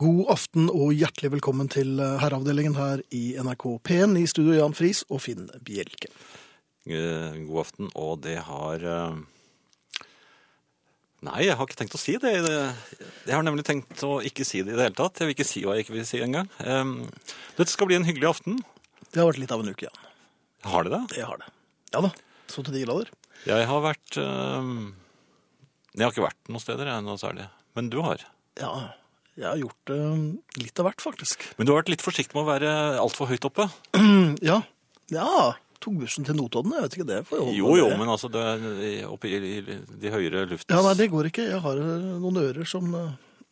God aften og hjertelig velkommen til eh, Herreavdelingen her i NRK P1. I studio Jan Friis og Finn Bjelke. Eh, God aften, og det har eh, Nei, jeg har ikke tenkt å si det. Det- Jeg har nemlig tenkt å ikke si det i det hele tatt. Jeg vil ikke si hva jeg ikke vil si engang. Eh, Dette skal bli en hyggelig aften. Det har vært litt av en uke, Jan. Har det det? Det har det. Ja da. Så til de grader. Jeg har vært eh, Jeg har ikke vært noen steder, jeg, noe særlig. Men du har. Ja, jeg har gjort eh, litt av hvert, faktisk. Men du har vært litt forsiktig med å være altfor høyt oppe. Ja. Ja. Tok bussen til Notodden, jeg vet ikke det. Får jeg holde Jo med jo, det. men altså det, er oppe i, i de høyere luftens Ja, nei, det går ikke. Jeg har eh, noen ører som eh,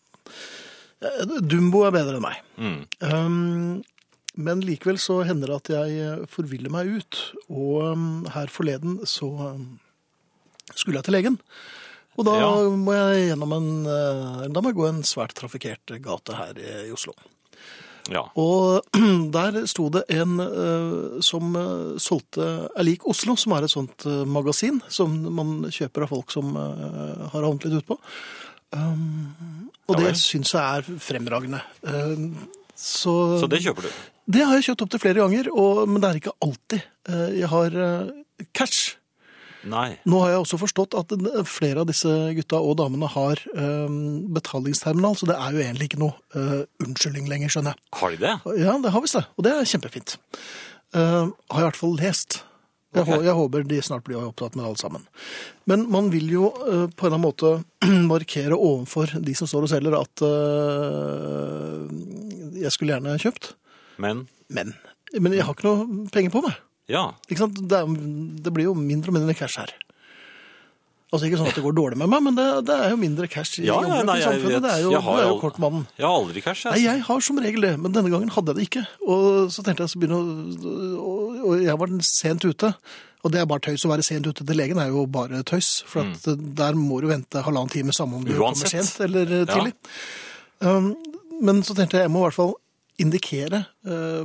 eh, Dumbo er bedre enn meg. Mm. Um, men likevel så hender det at jeg eh, forviller meg ut, og um, her forleden så um, skulle jeg til legen. Og da Ja. må jeg gjennom en eh, Da må jeg gå en svært trafikkert gate her i i Oslo. Ja. Og der sto det en eh, som eh, solgte Er lik Oslo, som er et sånt eh, magasin som man kjøper av folk som eh, har havnet litt utpå. Um, og Ja vel. det syns jeg er fremragende. Um, så, Så det... det kjøper du. har jeg kjøpt opp til flere ganger, og, men det er ikke alltid. Eh, jeg har eh, cash. Nei. Nå har jeg også forstått at den- eh, flere av disse gutta og damene har eh, betalingsterminal, så det er jo egentlig ikke noe eh, unnskyldning lenger, skjønner jeg. Har de det? Ja, det har visst det, og det er kjempefint. Eh, har jeg i hvert fall lest. Jeg, Ok. hå- jeg håper de snart blir opptatt med alle sammen. Men man vil jo eh, på en eller annen måte markere overfor de som står og selger at eh, jeg skulle gjerne kjøpt, Men men, men jeg har ikke noe penger på meg. ja. Ikke sant? Det, er, det blir jo mindre og mindre cash her. Altså ikke sånn at det går dårlig med meg, men det, det er jo mindre cash i, Ja, ja, omløp nei, i jeg samfunnet. vet. Det er jo, Jeg har du er jo al- kortmannen. Jeg har aldri cash. Nei, Jeg. jeg har som regel det, men denne gangen hadde jeg det ikke. Og så tenkte jeg så begynne å og, og jeg var sent ute. Og det er bare tøys å være sent ute til legen, er jo bare tøys. For at der må du vente halvannen time samme om du Mm. kommer Uansett. sent eller eh, Ja. tidlig. Um, men så tenkte jeg jeg må i hvert fall indikere eh,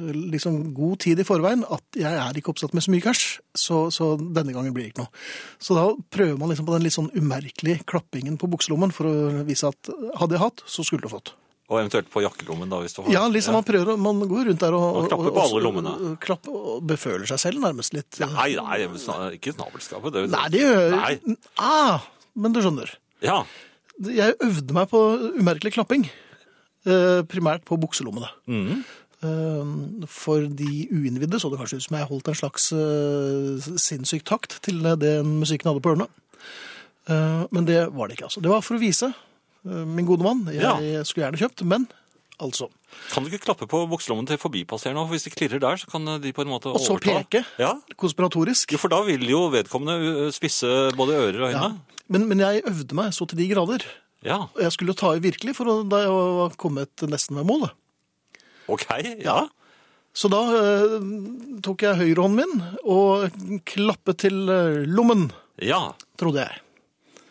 liksom god tid i forveien at jeg er ikke oppsatt med så mye cash, så, så denne gangen blir det ikke noe. Så da prøver man liksom på den litt sånn umerkelige klappingen på bukselommen for å vise at hadde jeg hatt, så skulle du fått. Og eventuelt på jakkelommen, da, hvis du har Ja, liksom man prøver, å- man går rundt der og... Man klapper og- på og- alle lommene. og Klapper og beføler seg selv nærmest litt. Nei, nei, men sna- ikke snabelskapet. Det, Nei, det gjør... Nei. Ah, men du skjønner. Ja. Jeg øvde meg på umerkelig klapping. eh, Primært på bukselommene. Mhm. Eh, For de uinnvidde så det kanskje ut som jeg holdt en slags eh, sinnssyk takt til den musikken jeg hadde på ørene. Eh, Men det var det ikke, altså. Det var for å vise eh, min gode mann. Jeg Ja. skulle gjerne kjøpt, men altså. Kan du ikke klappe på bukselommen til forbipasserende? for Hvis de klirrer der, så kan de på en måte Og så overta. peke. Ja. Konspiratorisk. Jo, for da vil jo vedkommende ø, spisse både ører og øyne. Men, men jeg øvde meg så til de grader. Ja. Og Jeg skulle jo ta i virkelig for å, da jeg var kommet nesten ved målet. Ok, ja. Så da eh, tok jeg høyrehånden min og klappet til eh, lommen, Ja. trodde jeg.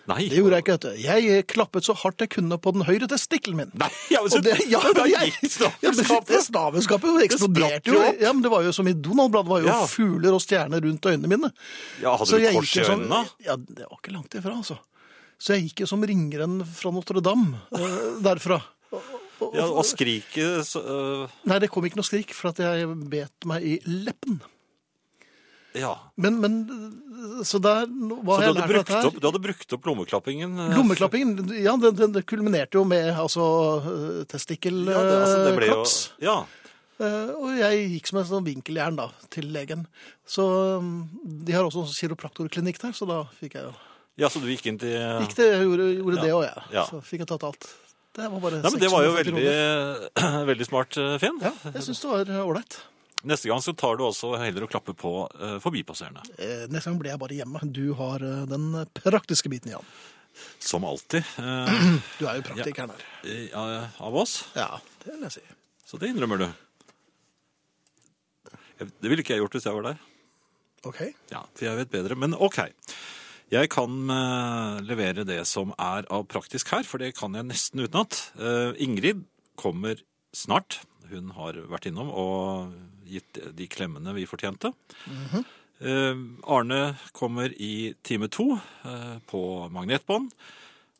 Nei. Det gjorde jeg ikke, vet du. Jeg klappet så hardt jeg kunne på den høyre testikkelen min. Nei, ja, men så, Og det, ja, men jeg, gikk ja, men det snabelskapet. snabenskapet spratt eksploderte jo jo. opp. Ja, men det var jo som i Donald-blad, det var jo Ja. fugler og stjerner rundt øynene mine. Ja, hadde Så du jeg kors i gikk sånn- jo som- øynene? Ja, det var ikke langt ifra, altså. Så jeg gikk jo som ringeren fra Notre-Dame eh, derfra. Ja, og skriket så, ø, Nei, det kom ikke noe skrik, for at jeg bet meg i leppen. Ja. Men, men Så der Så hva har du jeg hadde, lært av brukt dette her? opp, du hadde brukt opp eh, lommeklappingen? ø, Lommeklappingen, ja, den, den kulminerte jo med altså testikkelklaps. Ja, det, altså, det ble jo Ja. Eh, Og jeg gikk som en sånn vinkeljern da, til legen. Så mm, de har også en kiropraktorklinikk der, så da fikk jeg Ja, så du gikk inn til Gikk det, jeg gjorde, gjorde Ja. det òg, jeg. Ja. Så fikk jeg tatt alt. Det var bare Nei, men Det var jo 640 veldig, kroner. veldig smart, eh, Finn. Ja, jeg syns det var eh, ålreit. Neste gang så tar du også heller og klapper på eh, forbipasserende. Eh, Neste gang blir jeg bare hjemme. Du har eh, den praktiske biten, Jan. Som alltid eh, Du er jo praktikeren her. i- av av oss. Ja, det vil jeg si. Så det innrømmer du. Jeg- Det ville ikke jeg gjort hvis jeg var deg. Ok. Ja, for jeg vet bedre. Men OK. Jeg kan eh, levere det som er av praktisk her, for det kan jeg nesten utenat. Eh, Ingrid kommer snart. Hun har vært innom og gitt de klemmene vi fortjente. Eh, Arne kommer i time to eh, på magnetbånd.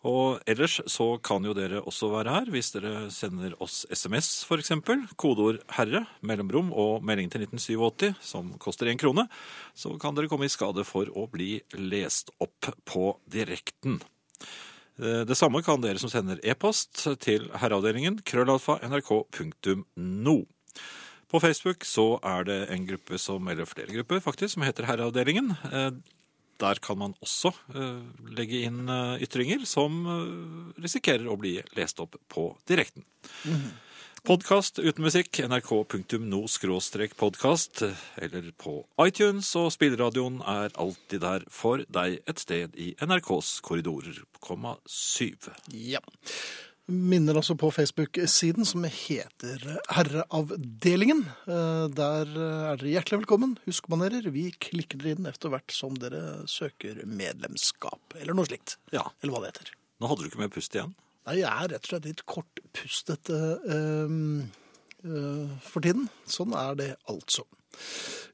Og ellers så kan jo dere også være her hvis dere sender oss SMS f.eks. Kodeord 'herre', mellomrom og melding til 1987 som koster én krone. Så kan dere komme i skade for å bli lest opp på direkten. Eh, Det samme kan dere som sender e-post til herreavdelingen krøllalfa nrk.no. På Facebook så er det en gruppe som, eller flere grupper faktisk, som heter Herreavdelingen. Eh, Der kan man også eh, legge inn eh, ytringer som eh, risikerer å bli lest opp på direkten. Podkast uten musikk, nrk.no-podkast, eh, eller på iTunes, og spilleradioen er alltid der for deg et sted i NRKs korridorer, komma syv. Ja. Minner også på Facebook-siden som heter Herreavdelingen. Eh, Der er dere hjertelig velkommen. Husk manerer. Vi klikker dere inn etter hvert som dere søker medlemskap, eller noe slikt. Ja, Eller hva det heter. nå hadde du ikke mer pust igjen. Nei, jeg er rett og slett litt kortpustet eh, eh, eh, for tiden. Sånn er det altså.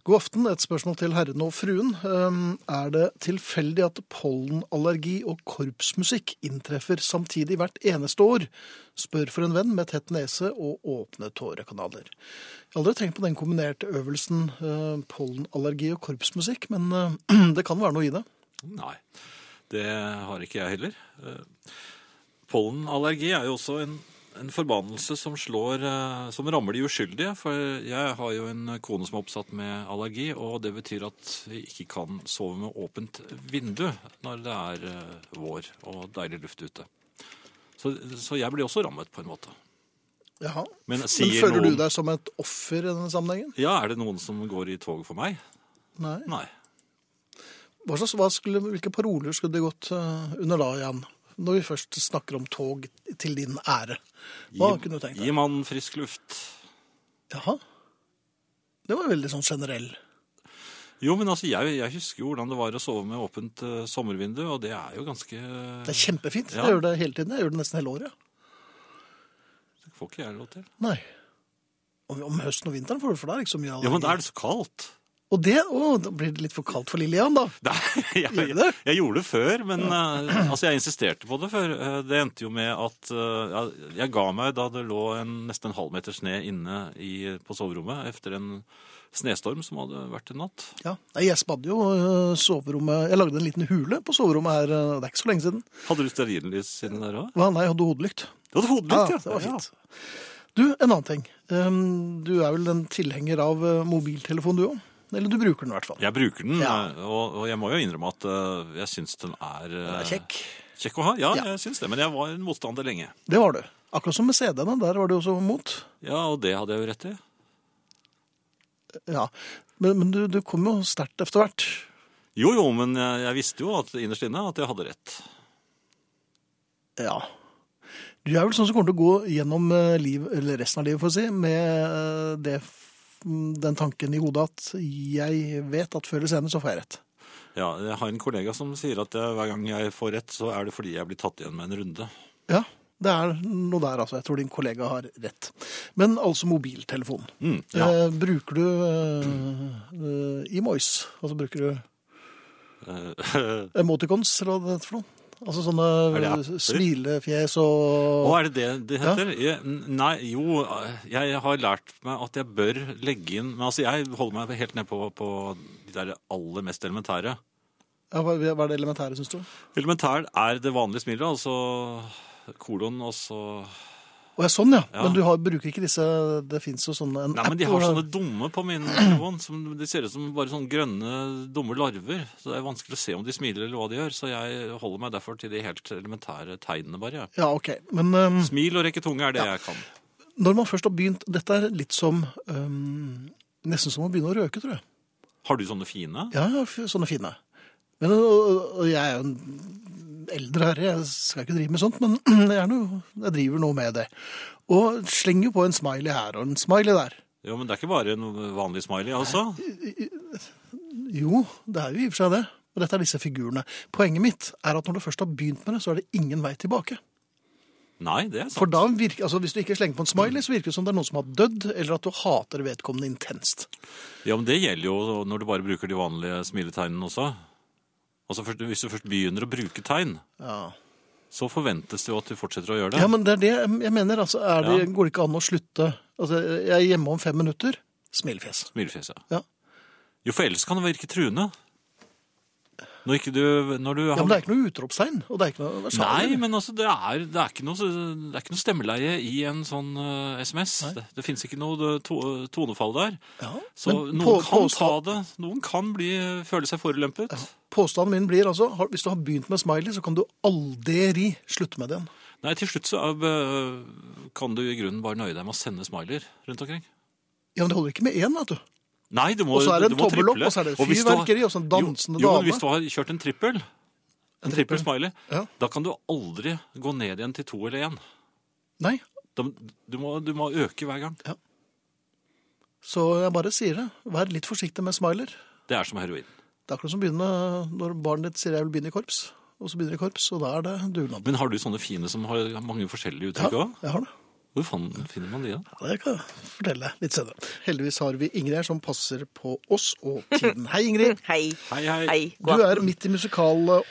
God aften. Et spørsmål til herren og fruen. Eh, er det tilfeldig at pollenallergi og korpsmusikk inntreffer samtidig hvert eneste år? Spør for en venn med tett nese og åpne tårekanaler. Jeg har aldri tenkt på den kombinerte øvelsen eh, pollenallergi og korpsmusikk, men eh, det kan være noe i det. Nei, det har ikke jeg heller. Eh, Pollenallergi er jo også en, en forbannelse som, slår, eh, som rammer de uskyldige. For jeg har jo en kone som er oppsatt med allergi, og det betyr at vi ikke kan sove med åpent vindu når det er eh, vår og deilig luft ute. Så, så jeg blir også rammet, på en måte. Jaha. Men Men sier føler noen du deg som et offer i denne sammenhengen? Ja, er det noen som går i tog for meg? Nei. Nei. Hva slags, hva skulle, hvilke paroler skulle det gått eh, under da, Jan? Når vi først snakker om tog til din ære. Hva Gi- kunne du tenkt deg? Gi mannen frisk luft. Jaha. Det var veldig sånn generell. Jo, men altså, jeg, jeg husker jo hvordan det var å sove med åpent eh, sommervindu, og det er jo ganske Det er kjempefint. Ja. Jeg gjør det hele tiden. Jeg gjør det nesten hele året. ja. Det får ikke jeg lov til. Nei. Om, om høsten og vinteren får du for deg ikke så mye Ja, men allergi. da er det så kaldt. Og det, å, da blir det litt for kaldt for Lillian da. Nei, Gjør jeg, du jeg, det? jeg gjorde det før, men eh, altså, jeg insisterte på det før. Eh, Det endte jo med at eh, jeg, jeg ga meg da det lå en, nesten en halvmeter sne inne i, på soverommet etter en snestorm som hadde vært en natt. Ja. Nei, jeg spadde jo eh, soverommet. Jeg lagde en liten hule på soverommet her, eh, det er ikke så lenge siden. Hadde du stearinlys inni der òg? Hva? Nei, jeg hadde hodelykt. Du hadde hodelykt, Ja, ja. Ah, det var fint. Du, en annen ting. Um, Du er vel en tilhenger av eh, mobiltelefon, du òg? Eller du bruker den i hvert fall. Jeg bruker den, Ja. eh, og, og jeg må jo innrømme at eh, jeg syns den er, eh, er kjekk. Kjekk å ha, ja, Ja. jeg syns det. Men jeg var en motstander lenge. Det var du. Akkurat som med CD-ene. Der var du også mot. Ja, og det hadde jeg jo rett i. Ja. Men, men du, du kom jo sterkt etter hvert. Jo, jo, men jeg, jeg visste jo at, innerst inne at jeg hadde rett. Ja. Du er vel sånn som kommer til å gå gjennom eh, liv, eller resten av livet, for å si, med eh, det, f- den tanken i hodet at jeg vet at før eller senere så får jeg rett. Ja, jeg har en kollega som sier at jeg, hver gang jeg får rett, så er det fordi jeg blir tatt igjen med en runde. Ja, det er noe der, altså. Jeg tror din kollega har rett. Men altså mobiltelefon. Mm, ja. Eh, bruker du eh, eh, emojis? Altså bruker du Eh, emoticons, eller hva det heter for noe? Altså sånne Er det apper? smilefjes Og og er det det det heter? Jeg, nei, jo, jeg har lært meg at jeg bør legge inn Men altså, jeg holder meg helt ned på, på de der aller mest elementære. ja, Hva hva er det elementære, syns du? Elementær er det vanlige smilet, altså kolon, og så Å ja, sånn ja. Ja. Men du har, bruker ikke disse Det fins jo sånne en Nei, men de app har hvor- sånne dumme på min telefon. Som, de ser ut som bare sånne grønne, dumme larver. Så det er vanskelig å se om de smiler eller hva de gjør. Så jeg holder meg derfor til de helt elementære tegnene bare. jeg. Ja, OK. Men ehm, Smil og rekke tunge er det jeg kan. når man først har begynt Dette er litt som ehm, Nesten som å begynne å røyke, tror jeg. Har du sånne fine? Ja, ja, f- sånne fine. Men, og, og jeg er jo en eldre herre, jeg skal ikke drive med sånt, men jeg, er noe, jeg driver nå med det. Og slenger jo på en smiley her og en smiley der. Jo, men det er ikke bare en vanlig smiley, altså. Jo, det er jo i og for seg det. Og dette er disse figurene. Poenget mitt er at når du først har begynt med det, så er det ingen vei tilbake. Nei, det er sant. For da virker, altså Hvis du ikke slenger på en smiley, så virker det som det er noen som har dødd, eller at du hater vedkommende intenst. Ja, men det gjelder jo når du bare bruker de vanlige smiletegnene også. Altså, først- Hvis du først begynner å bruke tegn, Ja. så forventes det jo at du fortsetter å gjøre det. Ja, men det er det jeg mener. Altså, er det, Ja. Går det ikke an å slutte? Altså, jeg er hjemme om fem minutter. Smilefjes. Smilefjes, ja. Ja. Jo, for ellers kan det virke truende. Når ikke du, når du ja, men det er ikke noe utropstegn. Og det er ikke noe versal, Nei, eller? men altså, det er, det er ikke noe, det er ikke noe stemmeleie i en sånn eh, SMS. Det, det finnes ikke noe eh, to, tonefall der. Ja, Så men noen på- kan påstå- ta det. Noen kan bli, føle seg forulempet. Påstanden min blir altså, har- hvis du har begynt med smiley, så kan du aldri slutte med den. Nei, til slutt så er, eh, kan du i grunnen bare nøye deg med å sende smileyer rundt omkring. Ja, men det holder ikke med én, vet du. Nei, du må Og så er det du en må tommel opp, triple. og så er det hvis du har- fyrverkeri, og så en dansende jo, jo, men dame. Hvis du har kjørt en trippel, en trippel smiley, Ja. da kan du aldri gå ned igjen til to eller én. Nei. Da- Du må, du må øke hver gang. Så jeg bare sier det. Vær litt forsiktig med smiler. Det er som heroin. Det er akkurat som å begynne når barnet ditt sier jeg vil begynne i korps. Og så begynner jeg i korps, og da er det dugnad. Men har du sånne fine som har mange forskjellige uttrykk òg? jeg har det. Hvor faen finner man de, da? Ja, det kan jeg fortelle deg litt senere. Heldigvis har vi Ingrid her som passer på oss og tiden. Hei, Ingrid. Hei. Hei, hei. Du god er aften. midt i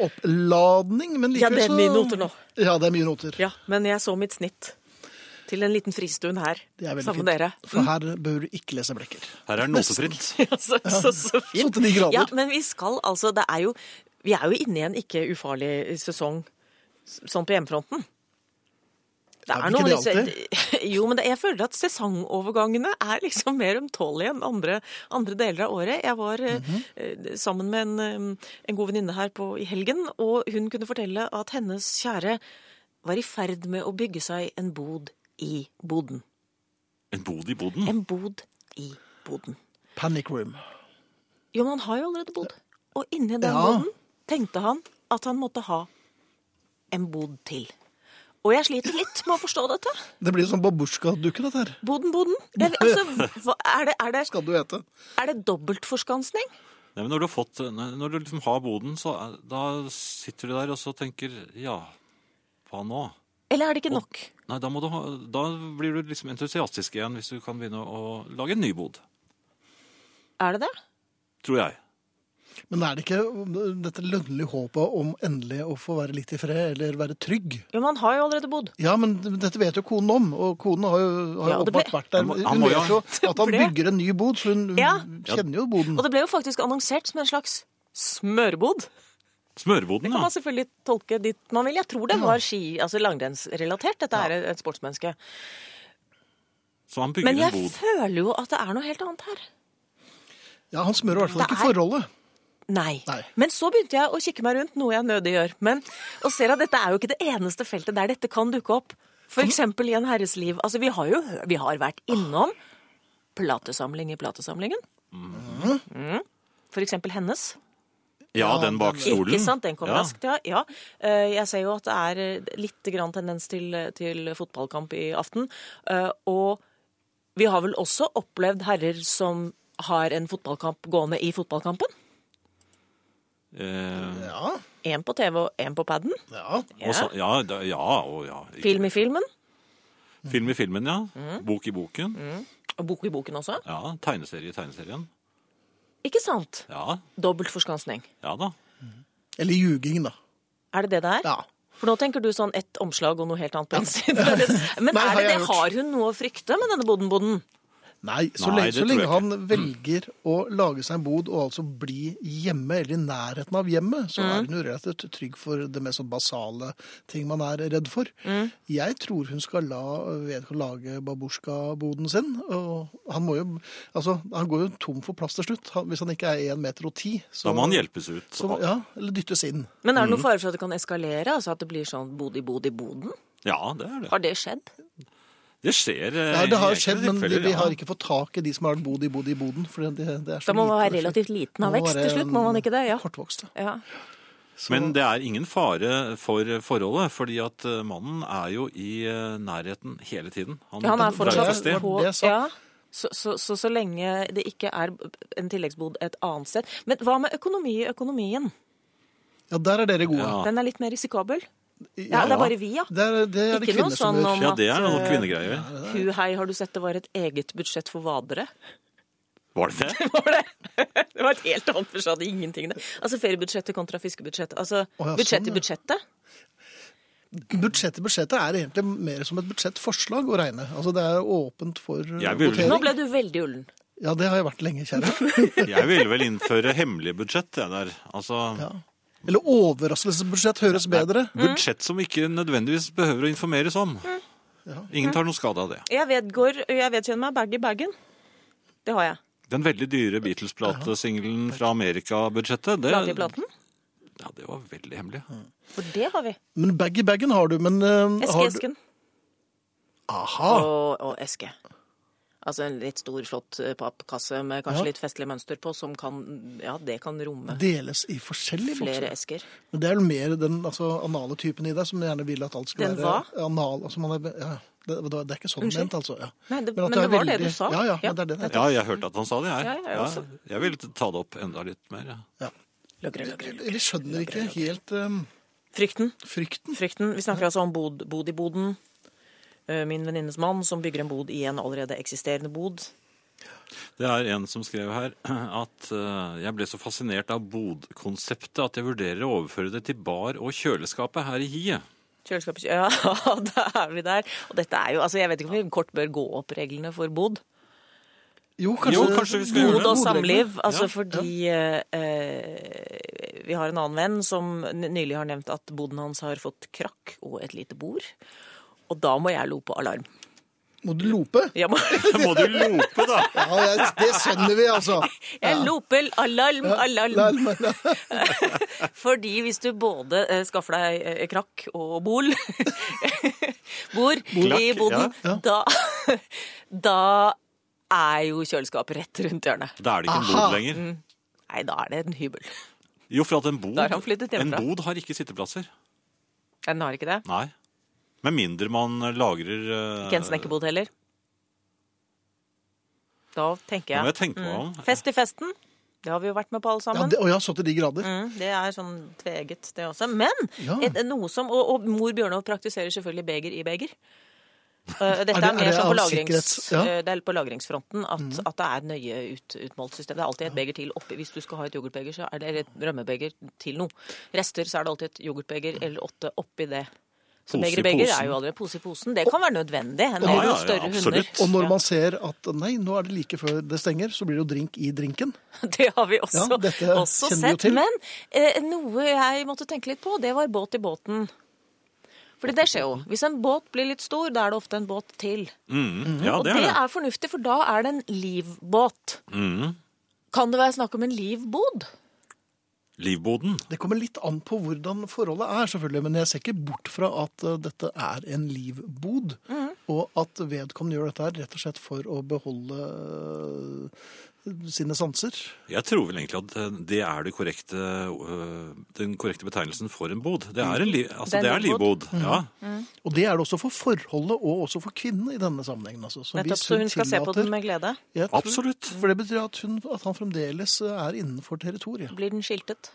musikaloppladning, men Ja, likevel så det er mye noter nå. Ja, det er mye noter. Ja, men jeg så mitt snitt til en liten fristund her Det er veldig fint. sammen med dere. Mm. For her bør du ikke lese blekker. Her er det nosefritt. Ja, så, så, Så så fint. til de grader. Ja, men vi skal altså det er jo, Vi er jo inne i en ikke ufarlig sesong s- sånn på hjemmefronten. Det Er vi ikke noe med det disse- Jo, men det, jeg føler at sesongovergangene er liksom mer ømtålige enn andre, andre deler av året. Jeg var eh, Mhm. eh, sammen med en, eh, en god venninne her på, i helgen, og hun kunne fortelle at hennes kjære var i ferd med å bygge seg en bod i boden. En bod i boden? En bod i boden. Panic room. Jo, men han har jo allerede bodd. Og inni den Ja. boden tenkte han at han måtte ha en bod til. Og jeg sliter litt med å forstå dette. Det blir sånn babusjka-dukke, dette her. Boden, boden. Jeg- Altså, hva, er, det, er, det, Skal du vite. er det dobbeltforskansning? Nei, men når du, har fått, når du liksom har boden, så er- da sitter du der og så tenker Ja, hva nå? Eller er det ikke nok? Nei, da, må du ha, da blir du liksom entusiastisk igjen hvis du kan begynne å lage en ny bod. Er det det? Tror jeg. Men er det ikke dette lønnlige håpet om endelig å få være litt i fred, eller være trygg? Jo, men han har jo allerede bodd. Ja, men dette vet jo konen om, og konen har jo, har jo Ja, det ble- åpenbart vært der. Han må- Hun han må vet jo jo- at han ble- bygger en ny bod, så hun hun Ja. kjenner jo boden. Og det ble jo faktisk annonsert som en slags smørbod. Smørboden, Kan ja. man selvfølgelig tolke dit man vil. Jeg tror det var ski, altså langrennsrelatert. Dette er et- et sportsmenneske. Så han bygger Men en jeg bod. føler jo at det er noe helt annet her. Ja, han smører i hvert fall Det ikke er- forholdet. Nei. Nei. Men så begynte jeg å kikke meg rundt, noe jeg nødig gjør. Men, og ser at dette er jo ikke det eneste feltet der dette kan dukke opp. Hm? For eksempel i en herres liv. Altså, vi har jo hø- vi har vært innom platesamling i platesamlingen. Mm-hmm. Mhm. For eksempel hennes. Ja, den bak stolen. Ikke sant? Den kom ja. raskt, ja. ja. Eh, Jeg ser jo at det er eh, litt grann tendens til, til fotballkamp i aften. Eh, Og vi har vel også opplevd herrer som har en fotballkamp gående i fotballkampen. Eh, Ja, Én på TV og én på paden. ja. og så, ja, da- ja, og ja. Ikke- Film i filmen. Film i filmen, ja. Mhm. Bok i boken. Og bok i boken også. Ja, tegneserie i tegneserien. Ikke sant? Ja, Dobbelt forskansning. ja da. Eller ljuging, da. Er det det det er? Ja. For nå tenker du sånn ett omslag og noe helt annet på innsiden. Men Nei, har er jeg det det? gjort. Har hun noe å frykte med denne boden-boden? Nei, så Nei, lenge, det så tror jeg lenge ikke. Mm. han velger å lage seg en bod og altså bli hjemme, eller i nærheten av hjemmet, så Mm. er hun jo relativt trygg for det mest sånn basale ting man er redd for. Mm. Jeg tror hun skal la vedkommende lage babusjka-boden sin. og Han må jo, altså, han går jo tom for plass til slutt, han, hvis han ikke er 1,10 meter. Og ti, så, Da må han hjelpes ut. Så, ja, eller dyttes inn. Men er det noen fare for at det kan eskalere? Altså at det blir sånn bod i bod i boden? Ja, det er det. Har det skjedd? Det skjer. eh, Ja, det har skjedd, men vi, vi har ikke fått tak i de som har bodd i bod i boden. For det, det er så Da må man lite være relativt liten av Må vekst til være slutt, må man ikke det? Ja. Kortvokste. ja. Men det er ingen fare for eh, forholdet, fordi at eh, mannen er jo i eh, nærheten hele tiden. Ja, Han er drar det fortsatt er til sted. på det jeg sa. ja. så, så, så så lenge det ikke er en tilleggsbod et annet sted. Men hva med økonomi i økonomien? Ja, der er dere gode. Ja. Den er litt mer risikabel. Ja, Ja, det er bare vi, ja. Det er det, er det Ikke noe kvinner som sånn gjør. om Ja, det er at, noen eh, kvinnegreier. Hu hei, har du sett det var et eget budsjett for vadere? Var det det? Var det? det var et helt annet budsjett, hadde ingenting det. Altså feriebudsjettet kontra fiskebudsjettet. Altså Å, ja, budsjett sånn, i ja. budsjettet. Budsjettet budsjettet er egentlig mer som et budsjettforslag å regne. Altså Det er åpent for eh, Jeg vil- votering. Nå ble du veldig ullen. Ja, det har jeg vært lenge, kjære. Jeg ville vel innføre hemmelig budsjett, jeg der. Altså Ja. Eller overraskelsesbudsjett høres bedre. budsjett som ikke nødvendigvis behøver å informeres om. Mm. Ingen tar noe skade av det. Jeg vedgår, jeg vedkjenner meg bag i bagen. Det har jeg. Den veldig dyre Beatles-platesingelen fra Amerika-budsjettet, det, ja, Plateplaten. det var veldig hemmelig. For det har vi. Men bag i bagen har du, men eh, har du... Ah. Eske-esken. Aha! Og, og eske. Altså en litt stor, flott eh, pappkasse med kanskje Ja. litt festlig mønster på, som kan Ja, det kan romme Deles i forskjellige bokser. flere esker. Men det er vel mer den altså, anale typen i deg som gjerne vil at alt skal Den være anal. Altså, man er, ja, det, det er ikke sånn Unnskyld? ment, altså. Ja. Nei, at det- du men er det var det du sa. Ja, ja, Ja, men det er det. det er. Ja, jeg hørte at han sa det, jeg. Ja, jeg også. jeg ville ta det opp enda litt mer. Ja. Ja. Logre, logre, logre. Vi skjønner ikke helt eh, Frykten. frykten. Frykten. Vi snakker altså om bod, bod i boden. Eh, Min venninnes mann som bygger en bod i en allerede eksisterende bod. Det er en som skrev her at eh, jeg ble så fascinert av bodkonseptet at jeg vurderer å overføre det til bar og kjøleskapet her i hiet. Kjøleskapet Ja, da er vi der. Og dette er jo Altså, jeg vet ikke om vi kort bør gå opp reglene for bod. Jo, kanskje, Jo, kanskje vi skal gjøre det. Bod og samliv. Ja, Altså ja. fordi eh, eh, Vi har en annen venn som n- nylig har nevnt at boden hans har fått krakk og et lite bord. Og da må jeg lope alarm. Må du lope? Jeg, må, Må du lope, da! Ja, det, det skjønner vi, altså. jeg loper alarm, Nei, alarm! men, Fordi hvis du både eh, skaffer deg eh, krakk og bol Bord i Krakk, ja, boden, ja. da, da er jo kjøleskapet rett rundt hjørnet. Da er det ikke en Aha. bod lenger. Nei, da er det en hybel. Jo, for at en bod, Mm. Da har han flyttet en hjemmefra. bod har ikke sitteplasser. Den har ikke det. Nei. Med mindre man lagrer eh, Ikke en snekkerbod heller. Da tenker Nå må jeg jeg tenke meg om. Fest i festen. Det har vi jo vært med på alle ja, sammen. det, og ja, så til de grader. Mm, det er sånn tveget, det også. Men Ja. et, noe som Og, og mor Bjørnov praktiserer selvfølgelig beger i beger. Eh, Er det- dette er, er mer det sånn på, av lagrings, sikkerhets- ja? Mm. eh, det er på lagringsfronten at, at det er et nøye ut, utmålt system. Det er alltid et beger til oppi. Hvis du skal ha et yoghurtbeger, så er det eller et rømmebeger til noe. Rester, så er det alltid et yoghurtbeger eller åtte oppi det. Så Pose i beger i beger posen. er jo aldri pose i posen. Det kan være nødvendig. En Ja, del ja, ja, større hunder. absolutt. Og når Ja. man ser at nei, nå er det like før det stenger, så blir det jo drink i drinken. Det har vi også, Ja, dette også kjenner vi jo sett. til. Men eh, noe jeg måtte tenke litt på, det var båt i båten. Fordi det skjer jo. Hvis en båt blir litt stor, da er det ofte en båt til. Mm, ja, Og det er det. fornuftig, for da er det en livbåt. Mhm. Kan det være snakk om en livbod? Livboden. Det kommer litt an på hvordan forholdet er, selvfølgelig, men jeg ser ikke bort fra at eh, dette er en livbod, Mhm. og at vedkommende gjør dette her rett og slett for å beholde eh, sine sanser. Jeg tror vel egentlig at eh, det er det korrekte, eh, den korrekte betegnelsen for en bod. Det er, en liv, altså, Det er det er livbod. livbod. Ja. Og det er det også for forholdet, og også for kvinnen i denne sammenhengen. Altså. Så Nettopp, hvis så hun skal se på tillater- den med glede. Jeg tror- Absolutt. For det betyr at, hun, at han fremdeles eh, er innenfor territoriet. Blir den skiltet?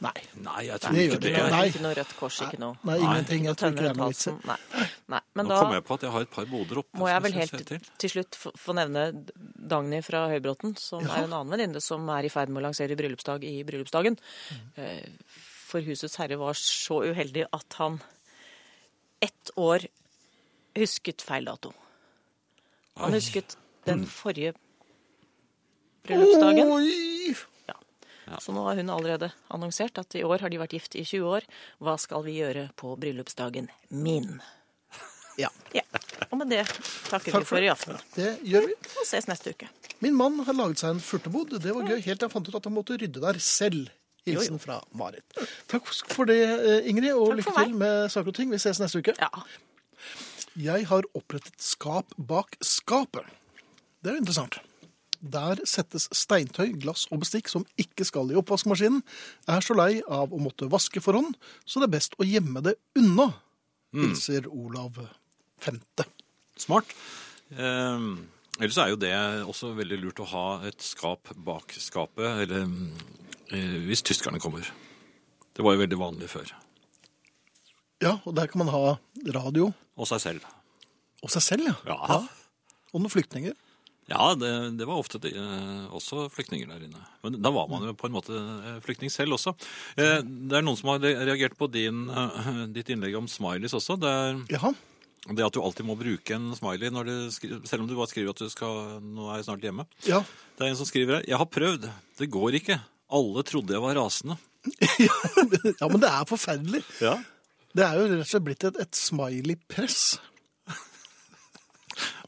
Nei. Nei, jeg tror Det gjør ikke det. det. Noe, Nei. Ikke noe Rødt Kors, ikke noe Nei, ingenting. Jeg tror ikke det er noe vits i. Tømmerhalsen. Nei. Nei. Men Nå da kom jeg på at jeg har et par boder oppe. må jeg som vel skal helt se til. til. slutt få- få nevne Dagny fra Høybråten, som er en annen venninne som er i ferd med å lansere bryllupsdag i bryllupsdagen. Eh, For Husets herre var så uheldig at han ett år husket feil dato. Han Oi. husket den forrige bryllupsdagen. Oh. Oi! Ja. Så nå har hun allerede annonsert at i år har de vært gift i 20 år. Hva skal vi gjøre på bryllupsdagen min? Ja. Ja. Og med det takker Takk vi for i aften. Det gjør vi. Og ses neste uke. Min mann har laget seg en furtebod. Det var gøy, helt til jeg fant ut at han måtte rydde der selv. Hilsen fra Marit. Takk for det, eh, Ingrid, og Takk for lykke meg. til med saker og ting. Vi ses neste uke. Ja. Jeg har opprettet skap bak skapet. Det er jo interessant. Der settes steintøy, glass og bestikk som ikke skal i oppvaskmaskinen. Er så lei av å måtte vaske for hånd, så det er best å gjemme det unna, hilser Olav 5. Smart. Eh, ellers er jo det også veldig lurt å ha et skap bak skapet, eller eh, hvis tyskerne kommer. Det var jo veldig vanlig før. Ja, og der kan man ha radio Og seg selv. og seg selv, ja. Ja. Og noen flyktninger. Ja, det, det var ofte de, eh, også flyktninger der inne. Men da var man jo på en måte eh, flyktning selv også. Eh, det er noen som har re- reagert på din, eh, ditt innlegg om smileys også. Det, er, Jaha. det at du alltid må bruke en smiley når du skri- selv om du bare skriver at du skal, nå er jeg snart hjemme. Ja. Det er en som skriver her. Jeg har prøvd. Det går ikke. Alle trodde jeg var rasende. ja, men det er forferdelig. Ja. Det er jo rett og slett blitt et, et smiley-press.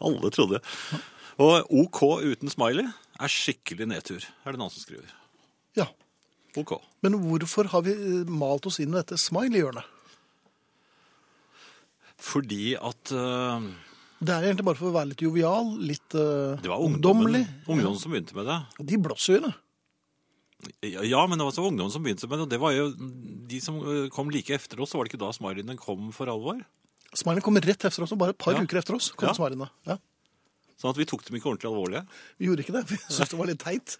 Alle trodde. Og OK uten smiley er skikkelig nedtur, er det noen som skriver. Ja. OK. Men hvorfor har vi eh, malt oss inn i dette smiley-hjørnet? Fordi at eh, Det er egentlig bare for å være litt jovial, litt eh, det var ungdommen, ungdommelig. ungdommen som begynte med det. De blåser jo i det. Ja, Ja, men det var altså ungdommen som begynte med det, og det var jo de som eh, kom like efter oss, så var det ikke da smileyene kom for alvor. Smiley kommer rett efter oss, og bare et par Ja. uker efter oss. kom Ja. smileyene. Ja. Sånn at vi tok dem ikke ordentlig alvorlig. Vi gjorde ikke det, vi syntes det var litt teit.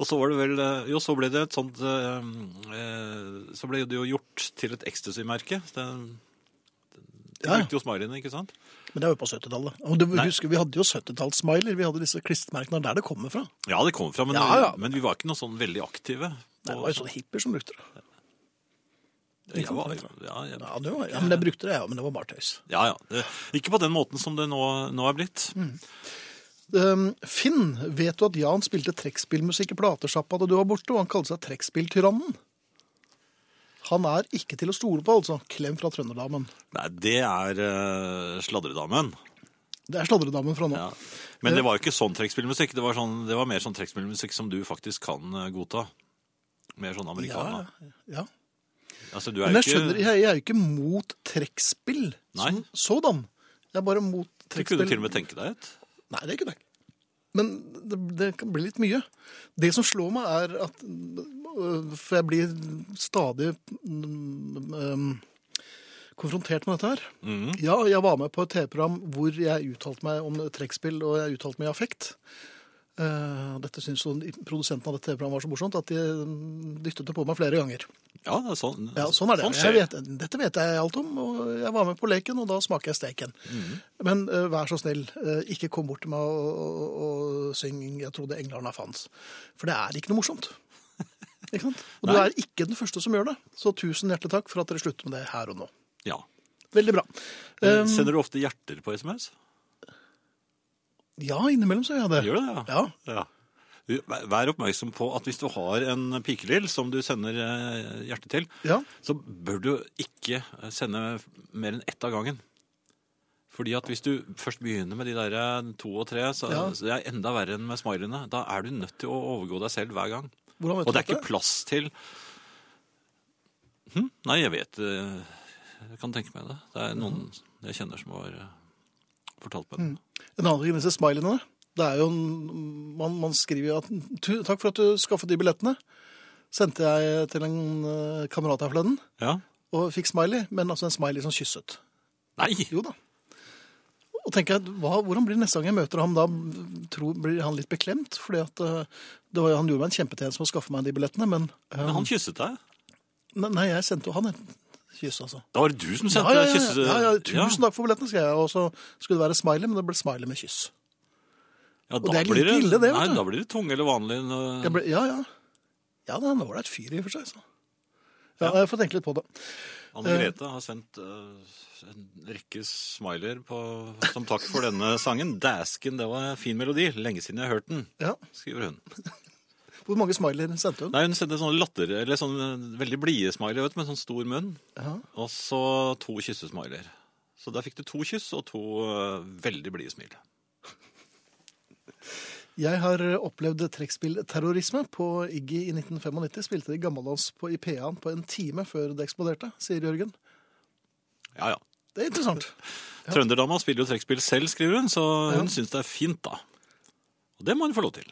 Og så var det vel eh, Jo, så ble det et sånt eh, eh, Så ble det jo gjort til et ecstasy-merke. Det, de Ja, ja. brukte jo smileyene, ikke sant? Men det er jo på 70-tallet. Og du Nei. husker, Vi hadde jo 70-tallssmiler. Vi hadde disse klistremerkene. Det er der det kommer fra. Ja, det kom fra, men, Ja, ja. men vi var ikke noe sånn veldig aktive. Nei, det var jo sånne hippier som brukte det. Jeg sant? var, ja, jeg, Ja, det var, ja, men Jeg brukte det, ja, men det var bare tøys. ja, ja. Det, ikke på den måten som det nå, nå er blitt. Mm. Um, Finn, vet du at Jan spilte trekkspillmusikk i platesjappa da du var borte, og han kalte seg trekkspilltyrannen? Han er ikke til å stole på, altså. Klem fra trønderdamen. Nei, det er eh, sladredamen. Det er sladredamen fra nå. Ja. Men det var jo ikke sånn trekkspillmusikk. Det, var sånn, det var mer sånn trekkspillmusikk som du faktisk kan eh, godta. Mer sånn amerikaner. ja. Altså, du er Men jo jeg skjønner, ikke... jeg, jeg er jo ikke mot trekkspill som Nei. sådan. Jeg er bare mot Du kunne til og trekkspill. med tenke deg et. Nei, det kunne jeg ikke. Men det, det kan bli litt mye. Det som slår meg, er at øh, For jeg blir stadig mm, øhm, konfrontert med dette her. Mhm. Ja, jeg var med på et TV-program hvor jeg uttalte meg om trekkspill, og jeg uttalte meg i affekt. Eh, dette syns jo produsenten av dette TV-programmet var så morsomt at de mm, dyttet det på meg flere ganger. Ja, det er sånn, Ja, sånn er det. skjer. jeg vet, dette vet jeg alt om, og jeg var med på leken, og da smaker jeg steken. Mhm. Men eh, vær så snill, eh, ikke kom bort til meg og, og, og syng 'Jeg trodde englarna fantes'. For det er ikke noe morsomt. Ikke sant? Og du Nei. er ikke den første som gjør det. Så tusen hjertelig takk for at dere slutter med det her og nå. Ja. Veldig bra. Eh, Sender du ofte hjerter på SMS? Ja, innimellom så gjør jeg det. Gjør du det? Ja. Ja. Du, vær- Vær oppmerksom på at hvis du har en pikelill som du sender eh, hjerte til, Ja. så bør du ikke eh, sende mer enn ett av gangen. Fordi at hvis du først begynner med de der eh, to og tre, så, Ja. så det er enda verre enn med smileyene. Da er du nødt til å overgå deg selv hver gang. Hvordan vet Og du det er ikke dette? plass til hm? Nei, jeg vet eh, Jeg kan tenke meg det. Det er noen jeg kjenner som har eh, fortalt meg det. Mm. En annen ting med disse smileyene, det er jo en- man, man skriver jo at «Tu- 'Takk for at du skaffet de billettene', sendte jeg til en eh, kamerat her forleden. Ja? og fikk smiley, men altså en smiley som kysset. Nei! Jo da. Og tenker jeg, hva, Hvordan blir det neste gang jeg møter ham da? Tror, blir han litt beklemt? fordi at eh, det var, Han gjorde meg en kjempetjeneste med å skaffe meg de billettene, men eh, Men han kysset deg. nei, nei, jeg sendte jo han et kyss, altså. Da var det du som Ja, sendte ja, ja, kysse... ja, ja, Tusen takk for billettene, skrev jeg. Og så skulle det være smiley, men det ble smiley med kyss. Ja, Og da det er blir like ille, det, vet Nei, du. da blir det tung eller vanlig. når- Jeg ble, ja, ja. Ja, det er en ålreit fyr i og for seg. Så. Ja, Jeg får tenke litt på det. Anne Grete har sendt eh, en rekke smileyer på- som takk for denne sangen. Dæsken, det var en fin melodi. Lenge siden jeg har hørt den, Ja. skriver hun. Hvor mange smileyer sendte hun? Nei, Hun sendte sånne latter, eller sånne veldig blide smileyer vet du, med sånn stor munn. Ja. Og så to kyssesmileyer. Så der fikk du to kyss og to eh, veldig blide smil. Jeg har eh, opplevd trekkspillterrorisme. På Iggy i 1995 spilte de gammeldans på IPA-en på en time før det eksploderte, sier Jørgen. Ja, ja. Det er interessant. Trønderdama spiller jo trekkspill selv, skriver hun, så hun syns det er fint, da. Og det må hun få lov til.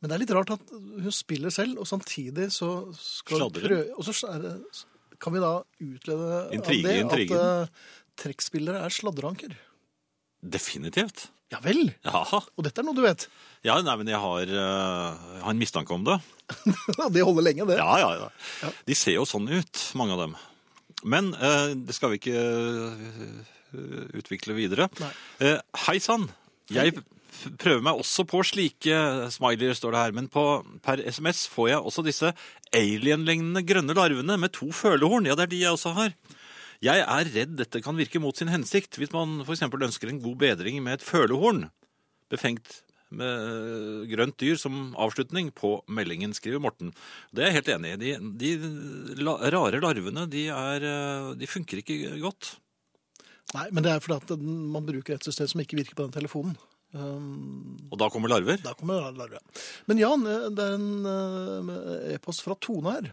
Men det er litt rart at hun spiller selv, og samtidig så skal hun Sladrer. prøve Og så er det- kan vi da utlede Intrige, av det intrigen. at eh, trekkspillere er sladreanker. Definitivt. Ja vel! Ja, Og dette er noe du vet. ja nei, men jeg har, eh, jeg har en mistanke om det. det holder lenge, det. Ja, ja, ja. De ser jo sånn ut, mange av dem. Men eh, det skal vi ikke eh, utvikle videre. Nei. Eh, Hei sann! Jeg p- prøver meg også på slike smileyer, står det her. Men på, per SMS får jeg også disse alien-lignende grønne larvene med to følehorn. Ja, det er de jeg også har. Jeg er redd dette kan virke mot sin hensikt, hvis man f.eks. ønsker en god bedring med et følehorn befengt med øh, grønt dyr som avslutning på meldingen, skriver Morten. Det er jeg helt enig i. De, de la, rare larvene, de, er, øh, de funker ikke godt. Nei, men det er fordi at den- man bruker et system som ikke virker på den telefonen. Um, Og da kommer larver. da kommer det larve. Men Jan, eh, det er en eh, e-post fra Tone her.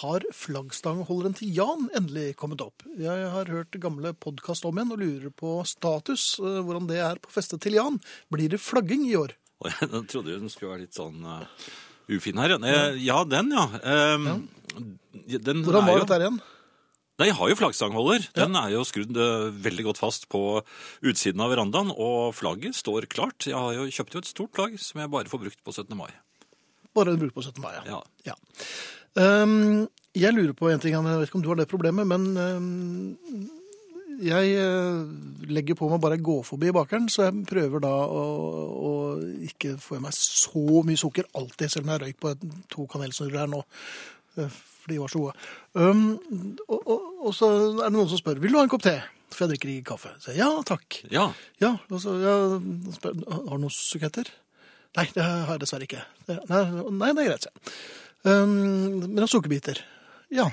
Har flaggstangholderen til Jan endelig kommet opp? Jeg har hørt gamle podkast om igjen og lurer på status, eh, hvordan det er på festet til Jan. Blir det flagging i år? Og jeg trodde jo den skulle være litt sånn øh, ufin her. ja. Eh, ja, den, ja. Ehm, Den Hvordan er var jo, dette her igjen? Nei, jeg har jo flaggstangholder. Den er jo skrudd eh, veldig godt fast på utsiden av verandaen, og flagget står klart. Jeg har jo kjøpt jo et stort flagg som jeg bare får brukt på 17. mai. Bare brukt på 17. mai, ja. Ja. Ja. Ehm, jeg lurer på en ting, Anne. jeg vet ikke om du har det problemet, men ehm, jeg eh, legger på meg bare å gå forbi bakeren, så jeg prøver da å, å ikke få i meg så mye sukker alltid, selv om jeg røyk på et, to kanelsnurrer her nå. eh, For de var så gode. Ehm, og, og, og så er det noen som spør vil du ha en kopp te, for jeg drikker ikke kaffe. Så jeg, ja takk. Ja, Ja, og så ja, han spør, Har du noen suketter? Nei, det har jeg dessverre ikke. Det- Nei, nei det er greit, sier jeg. Um, men jeg har sukkerbiter. Ja.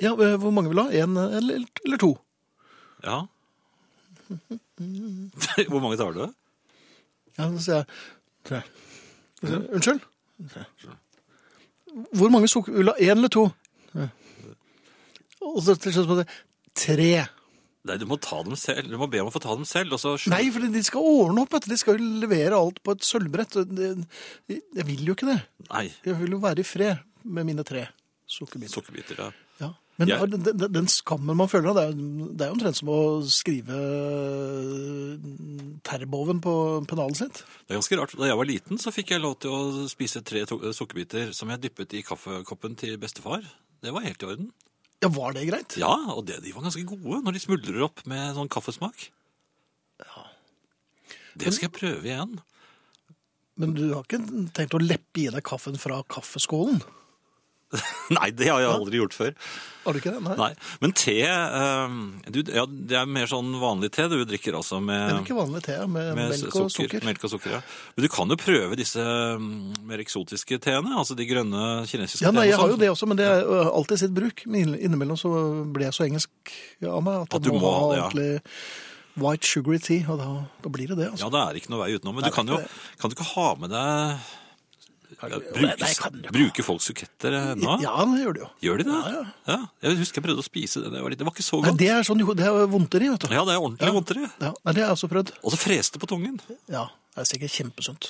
ja. eh, Hvor mange vil du ha? Én eller, eller to? Ja. Hvor mange tar du? Ja, så sier jeg tre. Så sier jeg, Unnskyld? Hvor mange sukker vil du ha? Én eller to? Og så til slutt på det tre. Nei, du må ta dem selv. Du må be om å få ta dem selv. Og så Nei, for de skal ordne opp. vet du. De skal jo levere alt på et sølvbrett. og det- Jeg vil jo ikke det. Nei. Jeg vil jo være i fred med mine tre sukkerbiter. Sukkerbiter, ja. Ja. Men Jeg- den, den, den skammen man føler, det er, jo- det er jo omtrent som å skrive eh, terboven på pennalet sitt. Det er ganske rart. Da jeg var liten, så fikk jeg lov til å spise tre to- eh, sukkerbiter som jeg dyppet i kaffekoppen til bestefar. Det var helt i orden. Ja, var det greit? Ja, og det, de var ganske gode når de smuldrer opp med sånn kaffesmak. Det skal jeg prøve igjen. Men du har ikke tenkt å leppe i deg kaffen fra kaffeskålen? Nei, det har jeg aldri gjort før. Har du ikke det? Nei. Nei, Men te eh, du, ja, Det er mer sånn vanlig te du drikker altså med Det er ikke vanlig te med, Med melk og sukker. Melk og sukker, ja. Men du kan jo prøve disse mm, mer eksotiske teene, altså de grønne kinesiske Ja, nei, teene. jeg har jo sånn. det også, men det er ø, alltid sitt bruk. Men innimellom så blir jeg så engelsk av meg at, At du jeg må, må ha ha det, ordentlig white sugary tea, og da, da blir det det, altså. Ja, det er ikke noe vei utenom. Men Nei, du kan det er jo kan du ikke ha med deg ja, Nei, bruke, jeg kan jo- bruke folks suketter eh, nå? Ja, det gjør det jo. Gjør de det? Ja, ja. Jeg husker jeg prøvde å spise det. Det var, litt, det var ikke så Nei, godt. det er sånn, jo, det er vondteri, vet du. Ja, det er ordentlig vondtere. Ja, nei, det har jeg også prøvd. Og så freste på tungen. Ja, det er sikkert kjempesunt.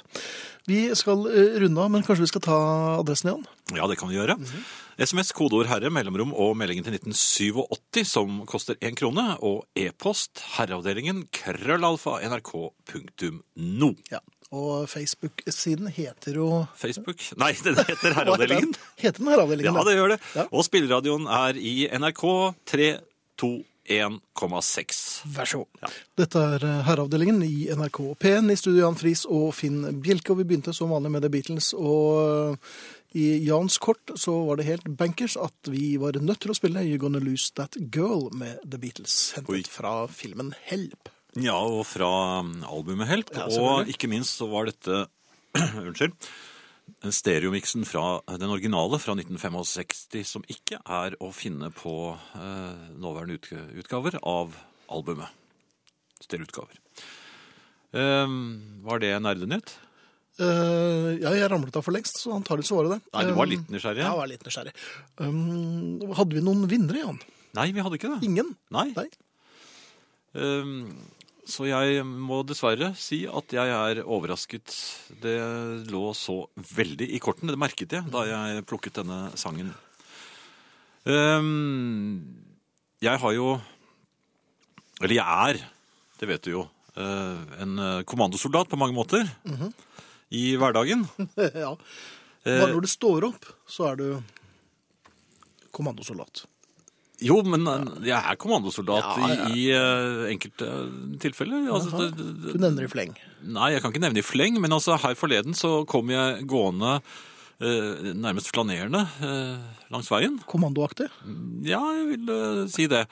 Vi skal eh, runde av, men kanskje vi skal ta adressen igjen? Ja, det kan vi gjøre. Mhm. SMS, kodeord herre, mellomrom og meldingen til 1987 som koster én krone, og e-post herreavdelingen krøllalfa nrk.no. Ja. Og Facebook-siden heter jo... Facebook? Nei, den heter Herreavdelingen. Heter den herreavdelingen? Ja, det gjør det. Ja. Og spilleradioen er i NRK 321,6. Vær så god. Dette er eh, herreavdelingen i NRK P1 i studio Jan Friis og Finn Bjelke. Og vi begynte som vanlig med The Beatles, og eh, i Jans kort så var det helt bankers at vi var nødt til å spille You're Gonna Lose That Girl med The Beatles, hentet Oi. fra filmen Help. Ja, og fra um, albumet Help. Ja, og selvfølgelig. ikke minst så var dette Unnskyld. Stereomiksen fra den originale fra 1965, som ikke er å finne på eh, nåværende utg- utgaver av albumet. Stereoutgaver. Um, var det nerdenytt? Eh, ja, jeg ramlet av for lengst, så antagelig så var det det. Nei, du var Eh, litt nysgjerrig? Jeg var litt nysgjerrig. Um, hadde vi noen vinnere, Jan? Nei, vi hadde ikke det. Ingen? Nei. Nei. Ehm, Så jeg må dessverre si at jeg er overrasket. Det lå så veldig i kortene, det merket jeg da jeg plukket denne sangen. Ehm, Jeg har jo Eller jeg er, det vet du jo, eh, en eh, kommandosoldat på mange måter Mhm. i hverdagen. ja. Eh. Bare når du står opp, så er du kommandosoldat. Jo, men eh, jeg er kommandosoldat Ja, ja. i, i eh, enkelte tilfeller. Altså, det- det- Du nevner i fleng. Nei, jeg kan ikke nevne i fleng, men altså her forleden så kom jeg gående eh, nærmest flanerende eh, langs veien. Kommandoaktig. Ja, jeg vil eh, si det.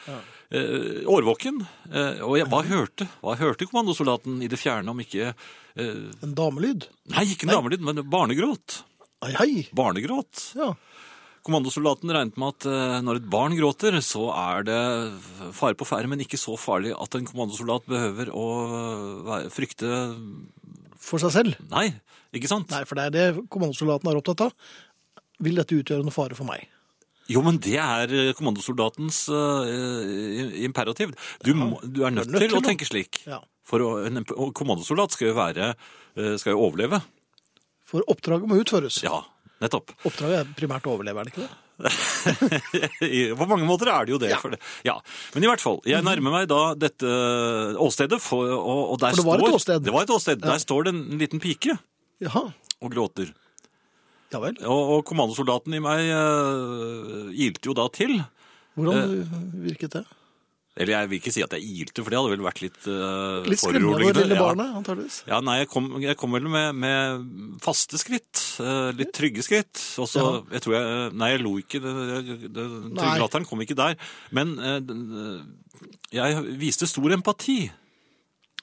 Eh, årvåken. Eh, og jeg, hva hørte Hva hørte kommandosoldaten i det fjerne om ikke eh, En damelyd. Nei, ikke en damelyd, men barnegråt. Ai, ai. Barnegråt. Ja. Kommandosoldaten regnet med at eh, når et barn gråter, så er det fare på ferde, men ikke så farlig at en kommandosoldat behøver å eh, være- frykte For seg selv. Nei, ikke sant? Nei, for det er det kommandosoldaten er opptatt av. Vil dette utgjøre noen fare for meg? Jo, men det er eh, kommandosoldatens eh, imperativ. Du, må, du er nødt nødt til til å å- tenke slik. Ja. For å, en en- og kommandosoldat skal jo være eh, Skal jo overleve. For oppdraget må utføres. Ja, nettopp. Oppdraget er primært å overleve, er det ikke det? I- På mange måter er det jo det. Ja. Mhm. For det. ja. Men i hvert fall, jeg nærmer meg da dette eh, åstedet, for, og, og der For det var et står åsted. Det var et åsted. Der står det en liten pike Jaha. og gråter. Ja vel. Og, og kommandosoldaten i meg uh, ilte jo da til. Hvordan Eh, virket det? Eller jeg vil ikke si at jeg ilte, for det hadde vel vært litt uh, Litt skremmende for det lille barnet, antageligvis. Ja, nei, jeg kom, jeg kom vel med, med faste skritt, eh, litt trygge skritt. Og så, jeg tror jeg, nei, jeg lo ikke, det, det, det, Nei. tryggelatteren kom ikke der. Men eh, den, eh, jeg viste stor empati.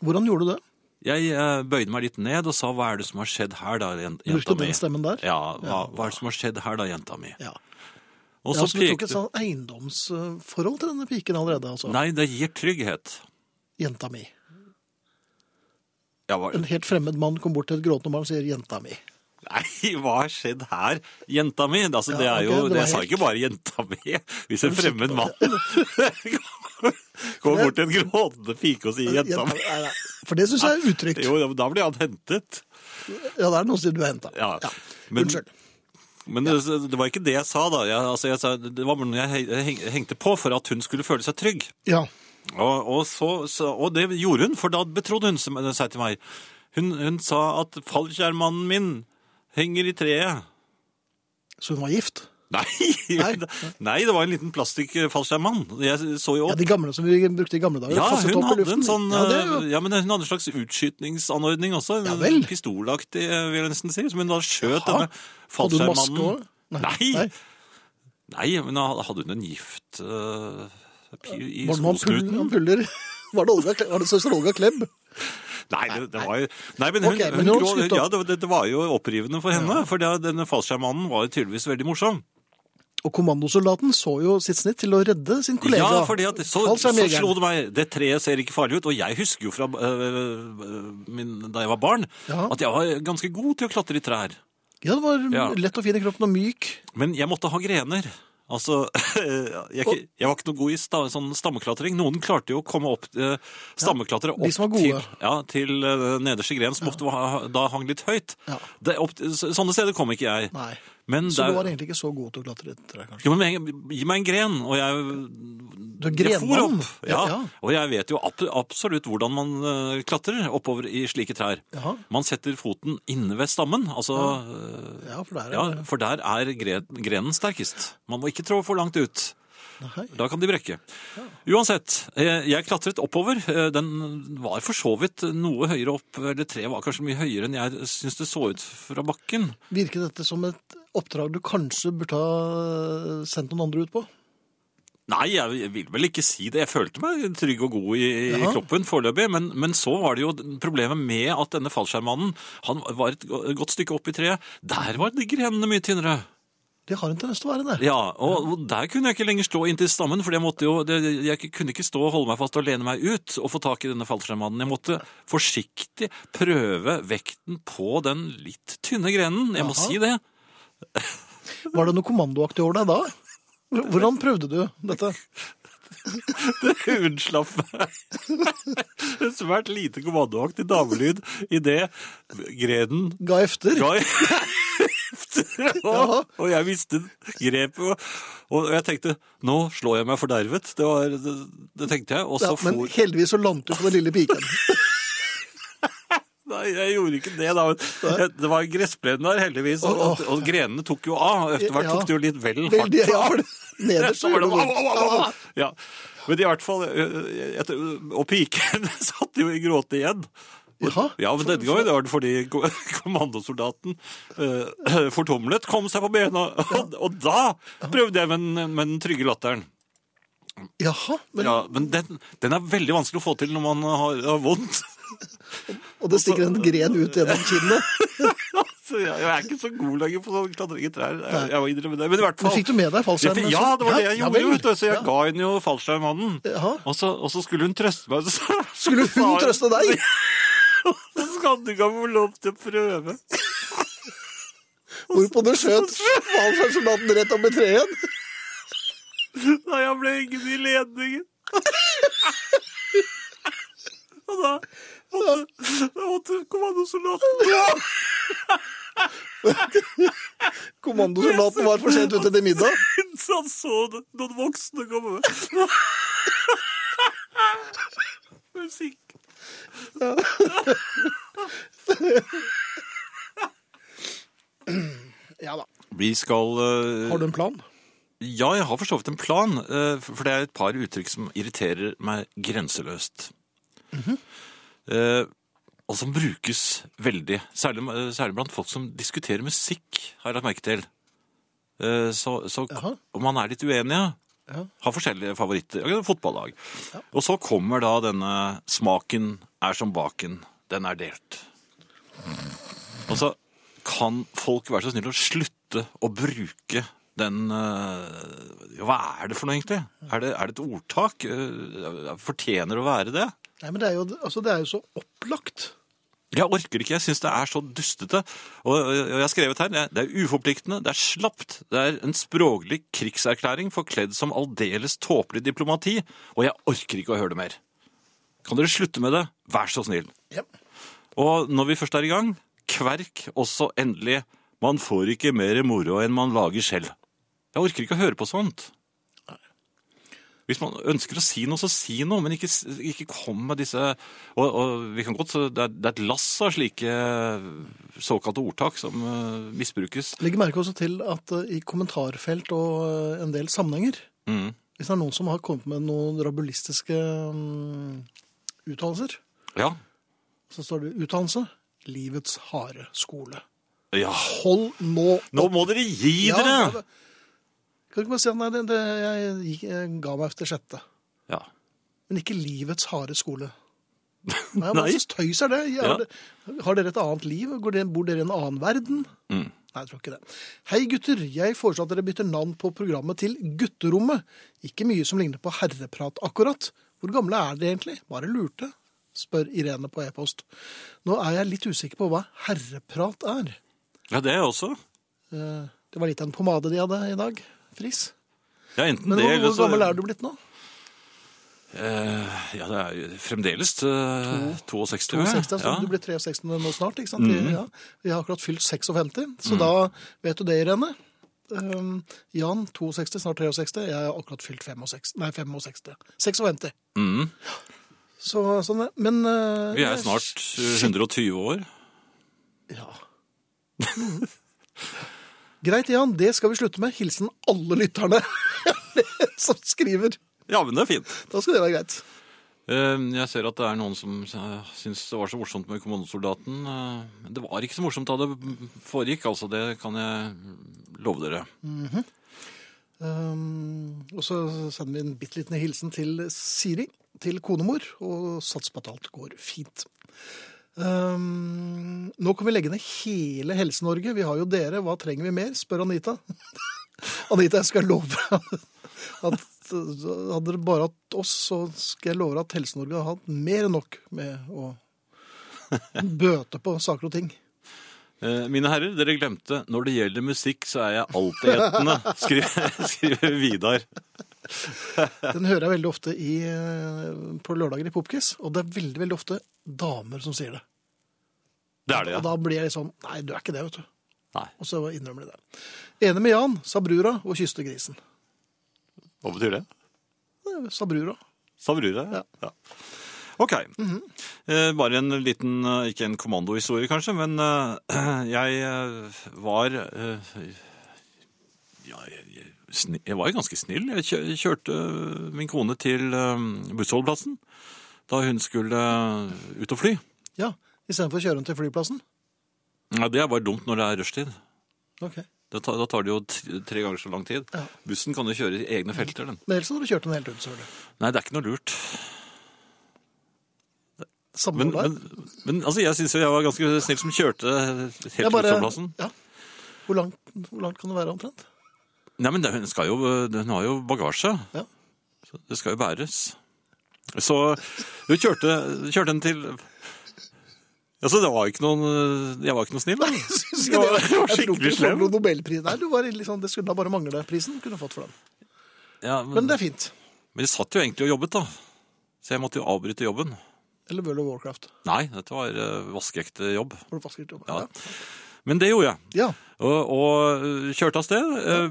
Hvordan gjorde du det? Jeg eh, bøyde meg litt ned og sa, hva er det som har skjedd her da, jen- jenta Brukte mi? den stemmen der? Ja, hva, hva er det som har skjedd her da, jenta mi? Ja. Og ja så så du tok pekte- et sånn eiendomsforhold til denne piken allerede, altså. Nei, det gir trygghet. Jenta mi. Ja, hva, En helt fremmed mann kom bort til et gråtende barn og sier 'jenta mi'. Nei, hva har skjedd her? Jenta mi? Altså, det Ja, ok, er jo, det var Jeg sa helt- ikke bare 'jenta mi'. Hvis en fremmed mann kommer bort til en gråtende pike og sier 'jenta mi', Nei, nei. For det syns jeg er utrygt. jo, ja, men da blir han hentet. Ja, det er noen som sier du er henta. Ja, Ja. men- Unnskyld. Men det, det var ikke det jeg sa, da. Jeg, altså, jeg sa, det var noe jeg he- heng- hengte på for at hun skulle føle seg trygg. Ja. Og, og, så, så, og det gjorde hun, for da betrodde hun som- seg til meg. Hun, hun sa at 'fallskjermmannen min henger i treet'. Så hun var gift? Nei, Nei. nei, det var en liten plastikkfallskjermmann. Jeg så jo Ja, opp. De gamle som vi brukte i gamle dager? Ja, kastet hun opp i hadde en luften. sånn ja, det er jo... eh, ja, men hun hadde en slags utskytningsanordning også. Ja en vel. Pistolaktig, eh, vil jeg nesten si. Som hun da Jaha. skjøt denne Hadde hun maske fallskjermmannen. også? Nei. Nei, men da hadde hun en gift eh, pi- i Var det noen puller, skosnuten? puller? Var det, Olga, Kle- var det søster Olga Klebb? Nei, det, det var jo Nei, men hun, Ok, men hun nå grå, slutt opp. ja, det, det- det var jo opprivende for henne. For det, denne fallskjermmannen var jo tydeligvis veldig morsom. Og kommandosoldaten så jo sitt snitt til å redde sin kollega. Ja, fordi at så, så Fallskjermjegeren. slo det meg Det treet ser ikke farlig ut. Og jeg husker jo fra øh, øh, min, da jeg var barn, Ja. at jeg var ganske god til å klatre i trær. Ja, det var Ja. lett og fin i kroppen og myk. Men jeg måtte ha grener. Altså, jeg, Og- jeg var ikke noe god i sta, sånn stammeklatring. Noen klarte jo å komme opp eh, Stammeklatre opp de som var til, gode. ja, til eh, nederste gren, som ofte var, da hang litt høyt. Ja. Det, opp, så- sånne steder kom ikke jeg. Nei. Men Så der- du var egentlig ikke så god til å klatre i et tre, kanskje. jo, men Gi meg en gren, og jeg Du er Jeg for grenmann. opp, ja. Og jeg vet jo ab- absolutt hvordan man eh, klatrer oppover i slike trær. Jaha. Man setter foten inne ved stammen, altså ja. ja, for det eh, er ja, det. For der er gre- grenen sterkest. Man må ikke trå for langt ut. Nei. Da kan de brekke. Uansett, eh, jeg klatret oppover. Eh, Den var for så vidt noe høyere opp, eller treet var kanskje mye høyere enn jeg syns det så ut fra bakken. Virket dette som et oppdrag du kanskje burde ha sendt noen andre ut på? Nei, jeg vil vel ikke si det. Jeg følte meg trygg og god i, i Jaha. kroppen foreløpig. Men, men så var det jo problemet med at denne fallskjermmannen han var et go- godt stykke opp i treet. Der var de grenene mye tynnere. Det har en tendens til å være det. Ja, og og der kunne jeg ikke lenger stå inntil stammen, for jeg, måtte jo, det, jeg kunne ikke stå og holde meg fast og lene meg ut og få tak i denne fallskjermmannen. Jeg måtte forsiktig prøve vekten på den litt tynne grenen. Jeg må Jaha. si det. Var det noe kommandoaktig over deg da? Hvordan prøvde du dette? Hun slapp meg. En svært lite kommandoaktig damelyd idet grenen Ga efter? ga efter, og, og jeg mistet grepet. Og, og jeg tenkte nå slår jeg meg fordervet. Det, var, det, det tenkte jeg. Og Ja, så men for heldigvis så landet du på den lille piken. Nei, jeg gjorde ikke det, da. men Det var gressplenen der, heldigvis. Og, og, og grenene tok jo av. Etter hvert Ja. tok det jo litt vel hardt. Veldig, ja, for det- nederst Så var det gjorde au, vondt. au, au, au, au. Ja. Men i hvert fall øh, etter, Og piken satt jo i gråte igjen. Jaha. Ja, men denne gangen var det fordi ko- kommandosoldaten øh, fortumlet, kom seg på bena, og, og da prøvde jeg med den, med den trygge latteren. Jaha, men, Ja, men den, den er veldig vanskelig å få til når man har, har vondt. og det stikker en gren ut gjennom kinnet. Så Altså, jeg, jeg er ikke så god lenger på sånn klatring i trær. Jeg, jeg må innrømme det. Men i hvert Men fall fikk du med deg Jeg fallskjermen? fikk- Ja, det var det jeg Ja, ja gjorde, vel. vet du. Så jeg Ja. ga henne jo fallskjermmannen. Jaha. Og, så- og så skulle hun trøste meg. Så, Skulle så sa hun trøste deg? Så skal du ikke få lov til å prøve. Hvorpå du skjøt fallskjermsoldaten rett opp i treet? Da jeg ble hengende i ledningen. Og da måtte, da måtte kommandosoldaten Kommandosoldaten var for sent ute til middag. inn, så han så det- noen voksne komme. Musikk. Ja da. Vi skal eh, Har du en plan? Ja, jeg har for så vidt en plan, eh, for for det er et par uttrykk som irriterer meg grenseløst. Eh, Og som brukes veldig, særlig, eh, særlig blant folk som diskuterer musikk, har jeg lagt merke til. Eh, Så, så Jaha. om man er litt uenige, Ja. har forskjellige favoritter, ja, fotballag. Og så kommer da denne smaken er som baken, den er delt. Og så kan folk være så snill å slutte å bruke den eh, ja, Hva er det for noe, egentlig? Er det, er det et ordtak? Eh, Fortjener det å være det? Nei, men det er jo, altså, det er jo så opplagt. Jeg orker ikke, jeg syns det er så dustete. Og, og jeg har skrevet her det er- det er uforpliktende, det er slapt, det er en språklig krigserklæring forkledd som aldeles tåpelig diplomati, og jeg orker ikke å høre det mer. Kan dere slutte med det? Vær så snill. Ja. Og når vi først er i gang, kverk også endelig. Man får ikke mer moro enn man lager selv. Jeg orker ikke å høre på sånt. Hvis man ønsker å si noe, så si noe, men ikke, ikke kom med disse og, og vi kan godt, det, er, det er et lass av slike eh, såkalte ordtak som eh, misbrukes. Legg merke også til at eh, i kommentarfelt og eh, en del sammenhenger Mm. Hvis det er noen som har kommet med noen rabulistiske mm, uttalelser, Ja. så står det utdannelse livets harde skole. ja. Hold nå Nå må dere gi Ja, ja, dere! det- Kan du ikke bare si at nei, det, det, jeg, gikk- jeg ga meg efter sjette. Ja. Men ikke livets harde skole. Nei, Hva Nei. slags tøys er det? Ja. Har, det- har dere et annet liv? Går dere- bor dere i en annen verden? Mm. Nei, jeg tror ikke det. Hei gutter, jeg foreslår at dere bytter navn på programmet til Gutterommet. Ikke mye som ligner på herreprat akkurat. Hvor gamle er dere egentlig? Bare lurte, spør Irene på e-post. Nå er jeg litt usikker på hva herreprat er. ja, det er jeg også. Eh, Det var litt av en pomade de hadde i dag, Friis. Ja, enten Men det, hvor, eller hvor så gammel er du blitt nå? Eh, ja, det er jo fremdeles eh, 62. 62, så ja. altså. Mm. du blir 63 nå snart, ikke sant? Ja. Vi har akkurat fylt 56, så da vet du det, Irene. Um, Jan, 62, snart 63. Jeg har akkurat fylt 65. Nei, 65. 56. Mm. Så, sånn, er- men uh, Vi er snart eh, 120 år. Ja. Mm. Greit, Jan. Det skal vi slutte med. Hilsen alle lytterne som skriver. Ja, men det er fint. Da skal det være greit. Eh, Jeg ser at det er noen som eh, syns det var så morsomt med kommandosoldaten. eh, men Det var ikke så morsomt da det foregikk, altså. Det kan jeg love dere. Um, og så sender vi en bitte liten hilsen til Siri, til konemor, og satser på at alt går fint. Um, nå kan vi legge ned hele Helse-Norge. Vi har jo dere. Hva trenger vi mer? spør Anita. Anita, jeg skal love at hadde dere bare hatt oss, så skal jeg love deg at Helse-Norge har hatt mer enn nok med å bøte på saker og ting. Eh, Mine herrer, dere glemte når det gjelder musikk, så er jeg altetende, skriver, skriver Vidar. Den hører jeg veldig ofte i, eh, på lørdager i Popquiz, og det er veldig, veldig ofte damer som sier det. Det er det, Og ja. da blir jeg litt sånn Nei, du er ikke det, vet du. Nei, Og så innrømmer de det. Enig med Jan. Sa brura og kyste grisen. Hva betyr det? Eh, Sa brura. Sa brura? Ja. ja. Ok. Eh, Bare en liten, eh, ikke en kommandohistorie kanskje, men eh, jeg eh, var eh, ja, jeg, jeg, sni- jeg var jo ganske snill. Jeg kjø- kjørte eh, min kone til eh, bussholdeplassen da hun skulle eh, ut og fly. Ja, Istedenfor å kjøre den til flyplassen? Ja, det er bare dumt når det er rushtid. Ok. Da tar, da tar det jo t- tre ganger så lang tid. Ja. Bussen kan jo kjøre i egne felter, den. Men ellers hadde du kjørt den helt ut, så du. Nei, det er ikke noe lurt. Samme Men, hvor det er. men, men altså, jeg syns jo jeg var ganske snill som kjørte helt til Jeg bare- bussholdeplassen. Ja. Hvor langt, hvor langt kan det være omtrent? Nei, men det- hun, skal jo, hun har jo bagasje. Ja. Så det skal jo bæres. Så hun kjørte, kjørte henne til Altså, det var ikke noen Jeg var ikke noe snill. da. Synes Det ikke var, det. jeg var Jeg tror ikke skikkelig du får slem. noen Nobelpris. Nei, du var litt sånn, det skulle da bare mangle prisen du kunne fått for den. Ja, Men men, det er fint. men jeg satt jo egentlig og jobbet, da. Så jeg måtte jo avbryte jobben. Eller World of Warcraft. Nei, dette var eh, vaskeekte jobb. Hvor du faktisk gjorde det. Ja. Men det gjorde jeg. Ja. Og, og eh, kjørte av sted. eh,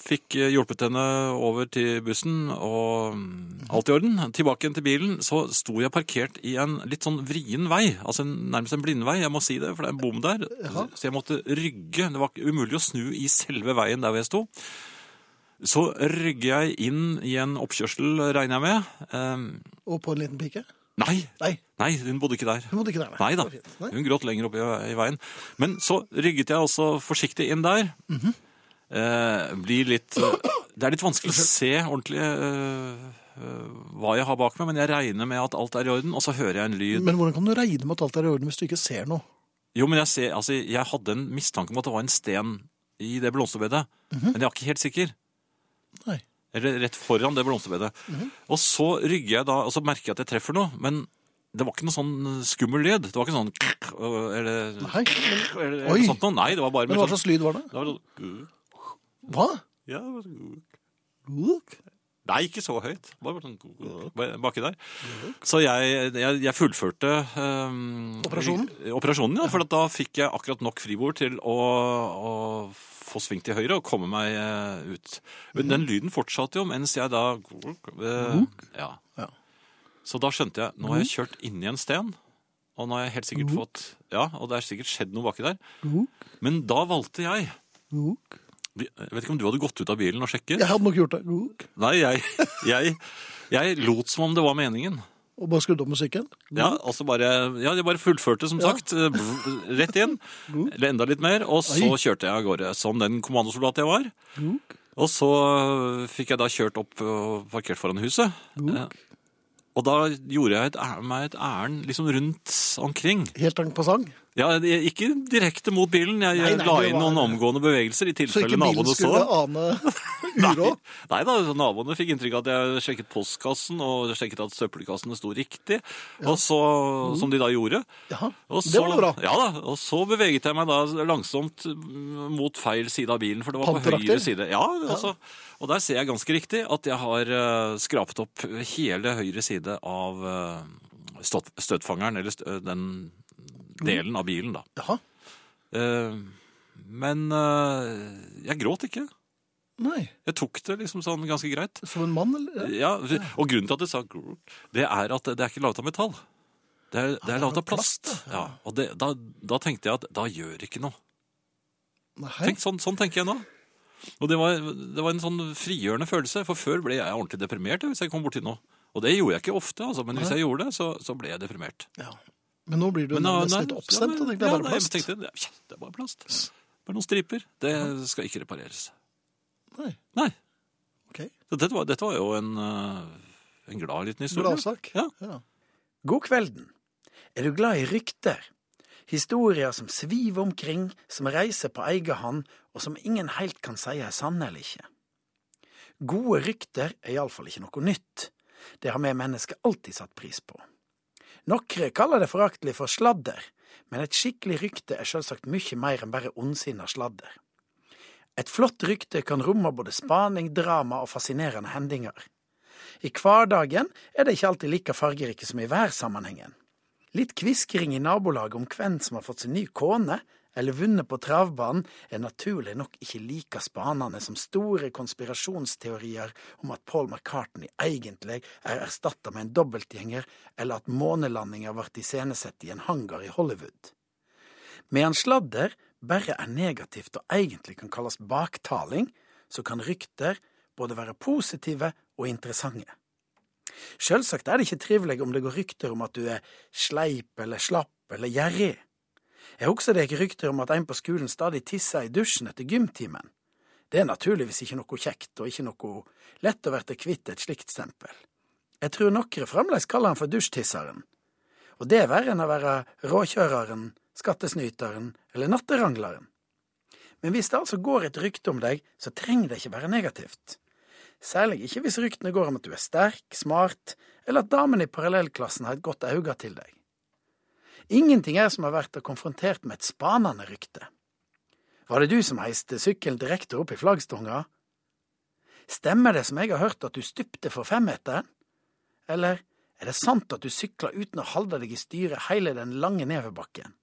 Fikk eh, hjulpet henne over til bussen, og mm, alt i orden. Tilbake igjen til bilen. Så sto jeg parkert i en litt sånn vrien vei, altså en, nærmest en blindvei. Jeg må si det, for det er en bom der. Jaha. Så jeg måtte rygge. Det var ikke- umulig å snu i selve veien der hvor jeg sto. Så rygger jeg inn i en oppkjørsel, regner jeg med. Eh, Og på en liten pike? Nei, Nei, nei, hun bodde ikke der. hun måtte ikke der. Nei da. Det var fint. Nei. Hun gråt lenger opp i, i veien. Men så rygget jeg også forsiktig inn der. Mhm. eh, blir litt eh, Det er litt vanskelig å se ordentlig eh, eh, hva jeg har bak meg, men jeg regner med at alt er i orden, og så hører jeg en lyd. Men hvordan kan du regne med at alt er i orden hvis du ikke ser noe? Jo, men jeg, ser, altså, jeg hadde en mistanke om at det var en sten i det blomsterbedet, men jeg var ikke helt sikker. Mhm. Nei. Mhm. Eller rett foran det blomsterbedet. Og så rygger jeg da, og så merker jeg at jeg treffer noe, men det var ikke noe sånn skummel lyd. Det var ikke sånn eller, Nei. Men, eller, eller Oi. sånt noe. Nei, det var bare men hva slags lyd var det? Det var sånn Hva? ja, det var sånn- Look. Nei, ikke så høyt. Bare sånn bare baki der. Så jeg, jeg, jeg fullførte ehm, Operasjonen? i- Operasjonen, ja. For at da fikk jeg akkurat nok fribord til å, å få sving til høyre og komme meg eh, ut. Men Mhm. den lyden fortsatte jo mens jeg da eh, ja. Ja. Så da skjønte jeg Nå har jeg kjørt inn i en sten. Og nå har jeg helt sikkert fått Ja, og det er sikkert skjedd noe baki der. Look. Men da valgte jeg Look. Jeg vet ikke om du hadde gått ut av bilen og sjekket? Jeg hadde nok gjort det. Look. Nei, jeg, jeg, jeg lot som om det var meningen. Og bare skrudd opp musikken. Ja, altså bare, ja, jeg bare fullførte, som Ja. sagt. eh, brr, Rett inn. Eller enda litt mer. Og så Oi. kjørte jeg av gårde som den kommandosoldat jeg var. Look. Og så eh, fikk jeg da kjørt opp og parkert foran huset. Eh, Look. Og da gjorde jeg et, æ- meg et ærend liksom rundt omkring. Helt en passang. Ja, jeg- Ikke direkte mot bilen, jeg Nei, nei, la det inn var- noen omgående bevegelser i Så tilfelle ikke bilen naboene så. skulle ane uro. Nei da, naboene fikk inntrykk av at jeg sjekket postkassen og sjekket at søppelkassene sto riktig, og så, som de da gjorde. Jaha, Og det var da bra. Ja da, og så beveget jeg meg da langsomt mm, mot feil side av bilen, for det var på Panteraktig? høyre side. Ja, altså, og der ser jeg ganske riktig at jeg har eh, skrapt opp hele høyre side av eh, stått- støtfangeren, eller stø- den Mm. delen av bilen da. Jaha. Eh, men eh, jeg gråt ikke. Nei. Jeg tok det liksom sånn ganske greit. Som en mann, eller? Ja, og grunnen til at det sa grrrt, det er at det er ikke laget av metall. Det Ah, er, det er laget av plast. Ja, og det, da, da tenkte jeg at da gjør det ikke noe. Nei. Tenk, sånn, sånn tenker jeg nå. Og det var, det var en sånn frigjørende følelse, for før ble jeg ordentlig deprimert hvis jeg kom borti noe. Og det gjorde jeg ikke ofte, altså, men hvis jeg gjorde det, så, så ble jeg deprimert. Ja. Men nå blir du Men da- nesten nei, litt ja, men- oppstemt. og tenker, det er ja, bare nei, plast. Jeg tenkte, det er- det er bare plast. Bare noen striper. Det skal ikke repareres. Nei. Nei. Ok. Så dette var, dette var jo en, eh, en glad liten historie. Gladsak. Ja. Ja. God kvelden. Er du glad i rykter? Historier som sviver omkring, som reiser på egen hånd, og som ingen heilt kan si er sanne eller ikke. Gode rykter er iallfall ikke noe nytt. Det har vi mennesker alltid satt pris på. Noen kaller det foraktelig for sladder, men et skikkelig rykte er selvsagt mye mer enn bare ondsinna sladder. Et flott rykte kan romme både spaning, drama og fascinerende hendinger. I hverdagen er det ikke alltid like fargerike som i værsammenhengen. Litt kviskring i nabolaget om hvem som har fått sin nye kone, eller vunnet på travbanen, er naturlig nok ikke like spanende som store konspirasjonsteorier om at Paul McCartney egentlig er erstatta med en dobbeltgjenger, eller at månelandinga ble iscenesatt i en hangar i Hollywood. Medan sladder bare er negativt og egentlig kan kalles baktaling, så kan rykter både være positive og interessante. Sjølsagt er det ikke trivelig om det går rykter om at du er sleip eller slapp eller gjerrig. Jeg husker det gikk rykter om at en på skolen stadig tissa i dusjen etter gymtimen. Det er naturligvis ikke noe kjekt og ikke noe lett å verte kvitt et slikt stempel. Jeg tror noen fremdeles kaller han for dusjtisseren, og det er verre enn å være råkjøreren, skattesnyteren eller natterangleren. Men hvis det altså går et rykte om deg, så trenger det ikke være negativt. Særlig ikke hvis ryktene går om at du er sterk, smart, eller at damene i parallellklassen har et godt øye til deg. Ingenting er som å ha vært konfrontert med et spanende rykte. Var det du som heiste sykkelen direkte opp i flaggstanga? Stemmer det som jeg har hørt at du stupte for femmeteren? Eller er det sant at du sykla uten å holde deg i styret hele den lange nedoverbakken?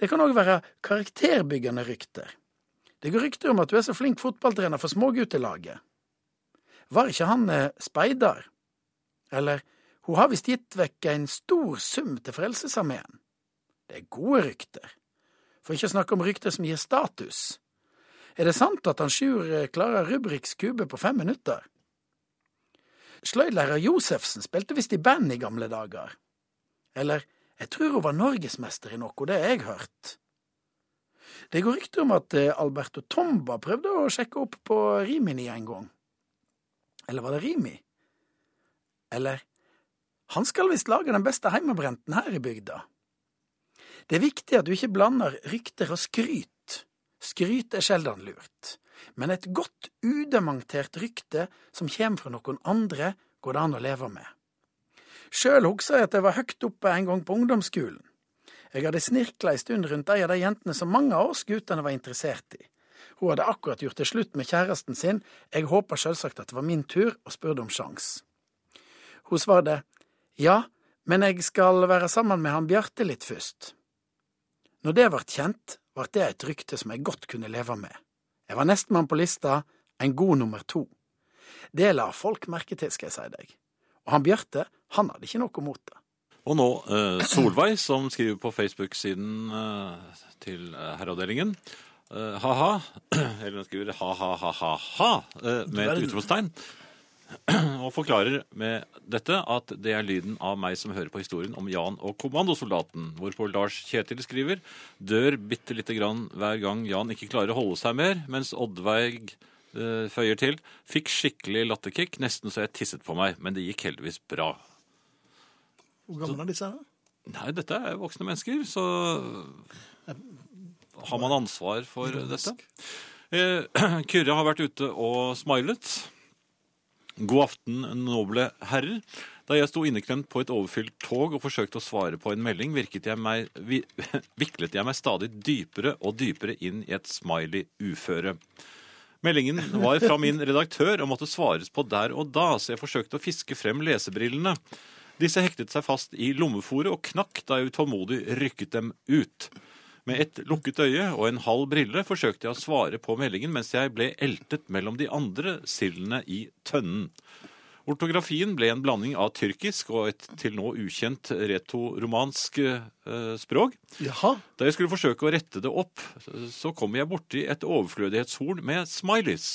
Det kan òg være karakterbyggende rykter. Det går rykter om at du er så flink fotballtrener for småguttelaget. Var ikke han eh, speider? Eller hun har visst gitt vekk en stor sum til Frelsesarmeen. Det er gode rykter, for ikke å snakke om rykter som gir status. Er det sant at han Sjur eh, klarer Rubriks kube på fem minutter? Sløydlærer Josefsen spilte visst i band i gamle dager. Eller, jeg tror hun var norgesmester i noe, det har jeg hørt. Det går rykter om at eh, Alberto Tomba prøvde å sjekke opp på Rimini en gang. Eller var det Rimi? Eller han skal visst lage den beste heimebrenten her i bygda. Det er viktig at du ikke blander rykter og skryt. Skryt er sjelden lurt, men et godt udementert rykte som kommer fra noen andre, går det an å leve med. Sjøl husker jeg at jeg var høyt oppe en gang på ungdomsskolen. Jeg hadde snirkla ei stund rundt ei av de jentene som mange av oss guttene var interessert i. Hun hadde akkurat gjort det slutt med kjæresten sin, jeg håpa sjølsagt at det var min tur, og spurte om sjans. Hun svarte ja, men jeg skal være sammen med han Bjarte litt først. Når det vart kjent, vart det et rykte som jeg godt kunne leve med. Jeg var nestemann på lista, en god nummer to. Det la folk merke til, skal jeg si deg. Og han Bjarte, han hadde ikke noe mot det. Og nå eh, Solveig, som skriver på Facebook-siden eh, til eh, herreavdelingen. Eh, ha-ha. Eller hun skriver ha-ha-ha-ha-ha eh, med et utropstegn. Og forklarer med dette at det er lyden av meg som hører på historien om Jan og kommandosoldaten. Hvorpå Lars Kjetil skriver dør bitte lite grann hver gang Jan ikke klarer å holde seg mer, mens Oddveig eh, føyer til fikk skikkelig latterkick, nesten så jeg tisset på meg, men det gikk heldigvis bra. Hvor gamle er disse her? da? Nei, dette er jo voksne mennesker, så har man ansvar for dette. Eh, Kyrre har vært ute og smilet. God aften, noble herrer. Da jeg sto inneklemt på et overfylt tog og forsøkte å svare på en melding, virket jeg meg, vi, viklet jeg meg stadig dypere og dypere inn i et smiley-uføre. Meldingen var fra min redaktør og måtte svares på der og da, så jeg forsøkte å fiske frem lesebrillene. Disse hektet seg fast i lommefòret og knakk da jeg utålmodig rykket dem ut. Med et lukket øye og en halv brille forsøkte jeg å svare på meldingen mens jeg ble eltet mellom de andre sildene i tønnen. Ortografien ble en blanding av tyrkisk og et til nå ukjent retoromansk eh, språk. Jaha. Da jeg skulle forsøke å rette det opp, så kom jeg borti et overflødighetshorn med smileys.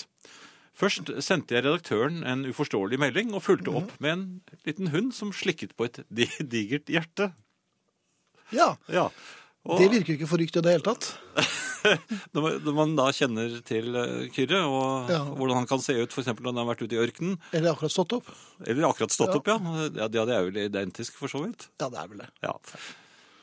Først sendte jeg redaktøren en uforståelig melding og fulgte Mhm. opp med en liten hund som slikket på et di- digert hjerte. Ja, Ja. Og det virker jo ikke forrykt i det hele tatt. når man- når man da kjenner til eh, Kyrre og Ja. hvordan han kan se ut f.eks. når han har vært ute i ørkenen, Eller akkurat stått opp. eller akkurat stått Ja. opp, ja. ja. Det det er jo identisk, for så vidt. Ja, det er vel det. Ja.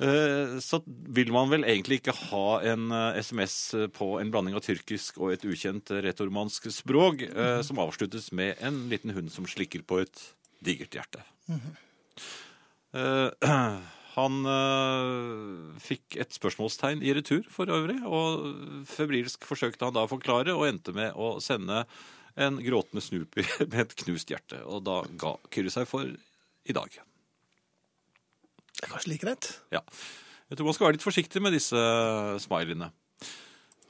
Eh, Så vil man vel egentlig ikke ha en eh, SMS på en blanding av tyrkisk og et ukjent retoromansk språk, eh, som avsluttes med en liten hund som slikker på et digert hjerte. Eh, Han eh, fikk et spørsmålstegn i retur for øvrig, og febrilsk forsøkte han da å forklare, og endte med å sende en gråtende Snoopy med et knust hjerte. Og da ga Kyrre seg for i dag. Det er kanskje like greit. Ja. Jeg tror man skal være litt forsiktig med disse smileyene.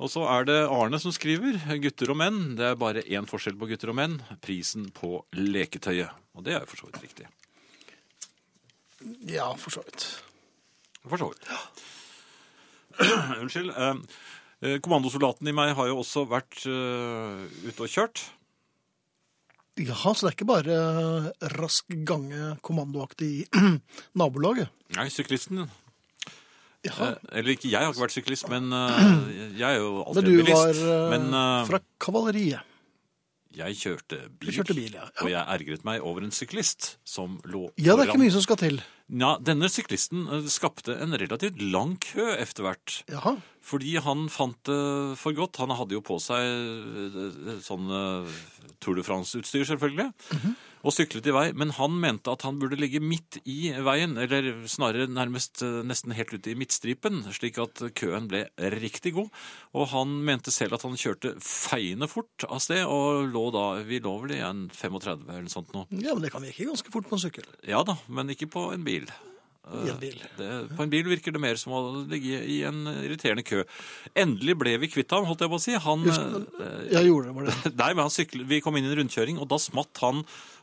Og så er det Arne som skriver. Gutter og menn. Det er bare én forskjell på gutter og menn. Prisen på leketøyet. Og det er jo for så vidt riktig. Ja, for så vidt. For så vidt. Unnskyld. Eh, Kommandosoldaten i meg har jo også vært eh, ute og kjørt. Jaha, så det er ikke bare eh, rask gange kommandoaktig i nabolaget? Nei, syklisten. Jaha. Eh, Eller ikke, jeg har ikke vært syklist, men eh, jeg er jo Men alltid du var bilist. eh, Men eh, fra kavaleriet. jeg kjørte bil, kjørte bil, ja. Ja. og jeg ergret meg over en syklist som lå Ja, det er ikke foran. mye som skal til. Ja, denne syklisten eh, skapte en relativt lang kø efter hvert. Jaha. Fordi han fant det for godt. Han hadde jo på seg eh, sånn eh, Tour de France-utstyr, selvfølgelig, Mhm. og syklet i vei. Men han mente at han burde ligge midt i veien, eller snarere nærmest eh, nesten helt ute i midtstripen, slik at køen ble riktig god. Og han mente selv at han kjørte feiende fort av sted, og lå da Vi lå vel i en 35 eller sånt nå. Ja, men det kan virke ganske fort på en sykkel. Ja da, men ikke på en bil. Eh, I en bil. Det, på en bil virker det mer som å ligge i en irriterende kø. Endelig ble vi kvitt ham, holdt jeg på å si. Han, eh, Jeg gjorde det, var det. nei, men han syklet, vi kom inn i en rundkjøring, og da smatt han,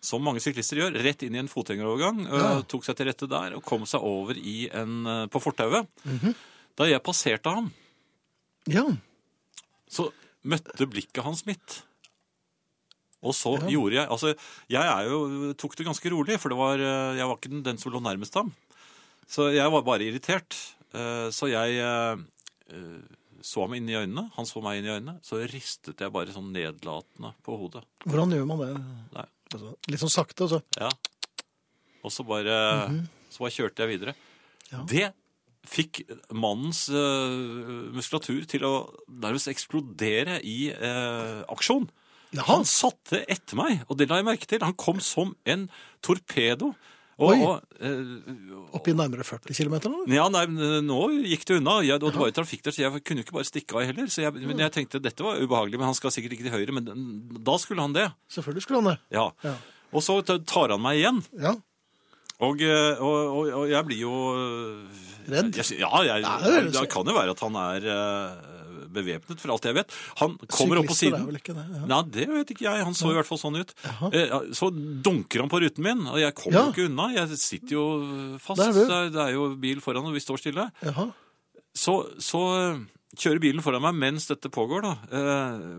som mange syklister gjør, rett inn i en fotgjengerovergang. eh, Tok seg til rette der og kom seg over i en, eh, på fortauet. Mhm. Da jeg passerte ham, Ja. så møtte blikket hans mitt. Og så gjorde jeg Altså, jeg er jo, tok det ganske rolig, for det var, eh, jeg var ikke den, den som lå nærmest ham. Så jeg var bare irritert. Eh, Så jeg eh, eh, så ham inn i øynene, han så meg inn i øynene. Så ristet jeg bare sånn nedlatende på hodet. Hvordan gjør man det? Nei. Altså, litt sånn sakte, altså. Ja. Og så bare, så bare kjørte jeg videre. Ja. Det fikk mannens eh, muskulatur til å nærmest eksplodere i eh, aksjon. Jaha. Han satte etter meg, og det la jeg merke til. Han kom som en torpedo. Og, Oi. og, eh, Oppi nærmere 40 km, eller? ja, nei, men eh, nå gikk det unna. Jeg, og det var jo trafikk der, så jeg kunne jo ikke bare stikke av heller. Så jeg, men jeg tenkte dette var ubehagelig, men han skal sikkert ikke til høyre. Men den- da skulle han det. Selvfølgelig skulle han det. Ja. Ja. Og så t- tar han meg igjen. Ja. Og, eh, og, og, og jeg blir jo eh, Redd? Jeg, sy- ja, jeg, Nei, det høres- det kan jo være at han er eh, bevæpnet, for alt jeg vet. Han kommer opp på Syklister siden. er vel ikke det? Ja. Nei, det vet ikke jeg. Han så i hvert fall sånn ut. Jaha. Eh, Så dunker han på ruten min, og jeg kommer Ja. jo ikke unna. Jeg sitter jo fast. Der er Det du. er, det er jo bil foran, og vi står stille. Jaha. Så, så eh, kjører bilen foran meg mens dette pågår, da. Eh,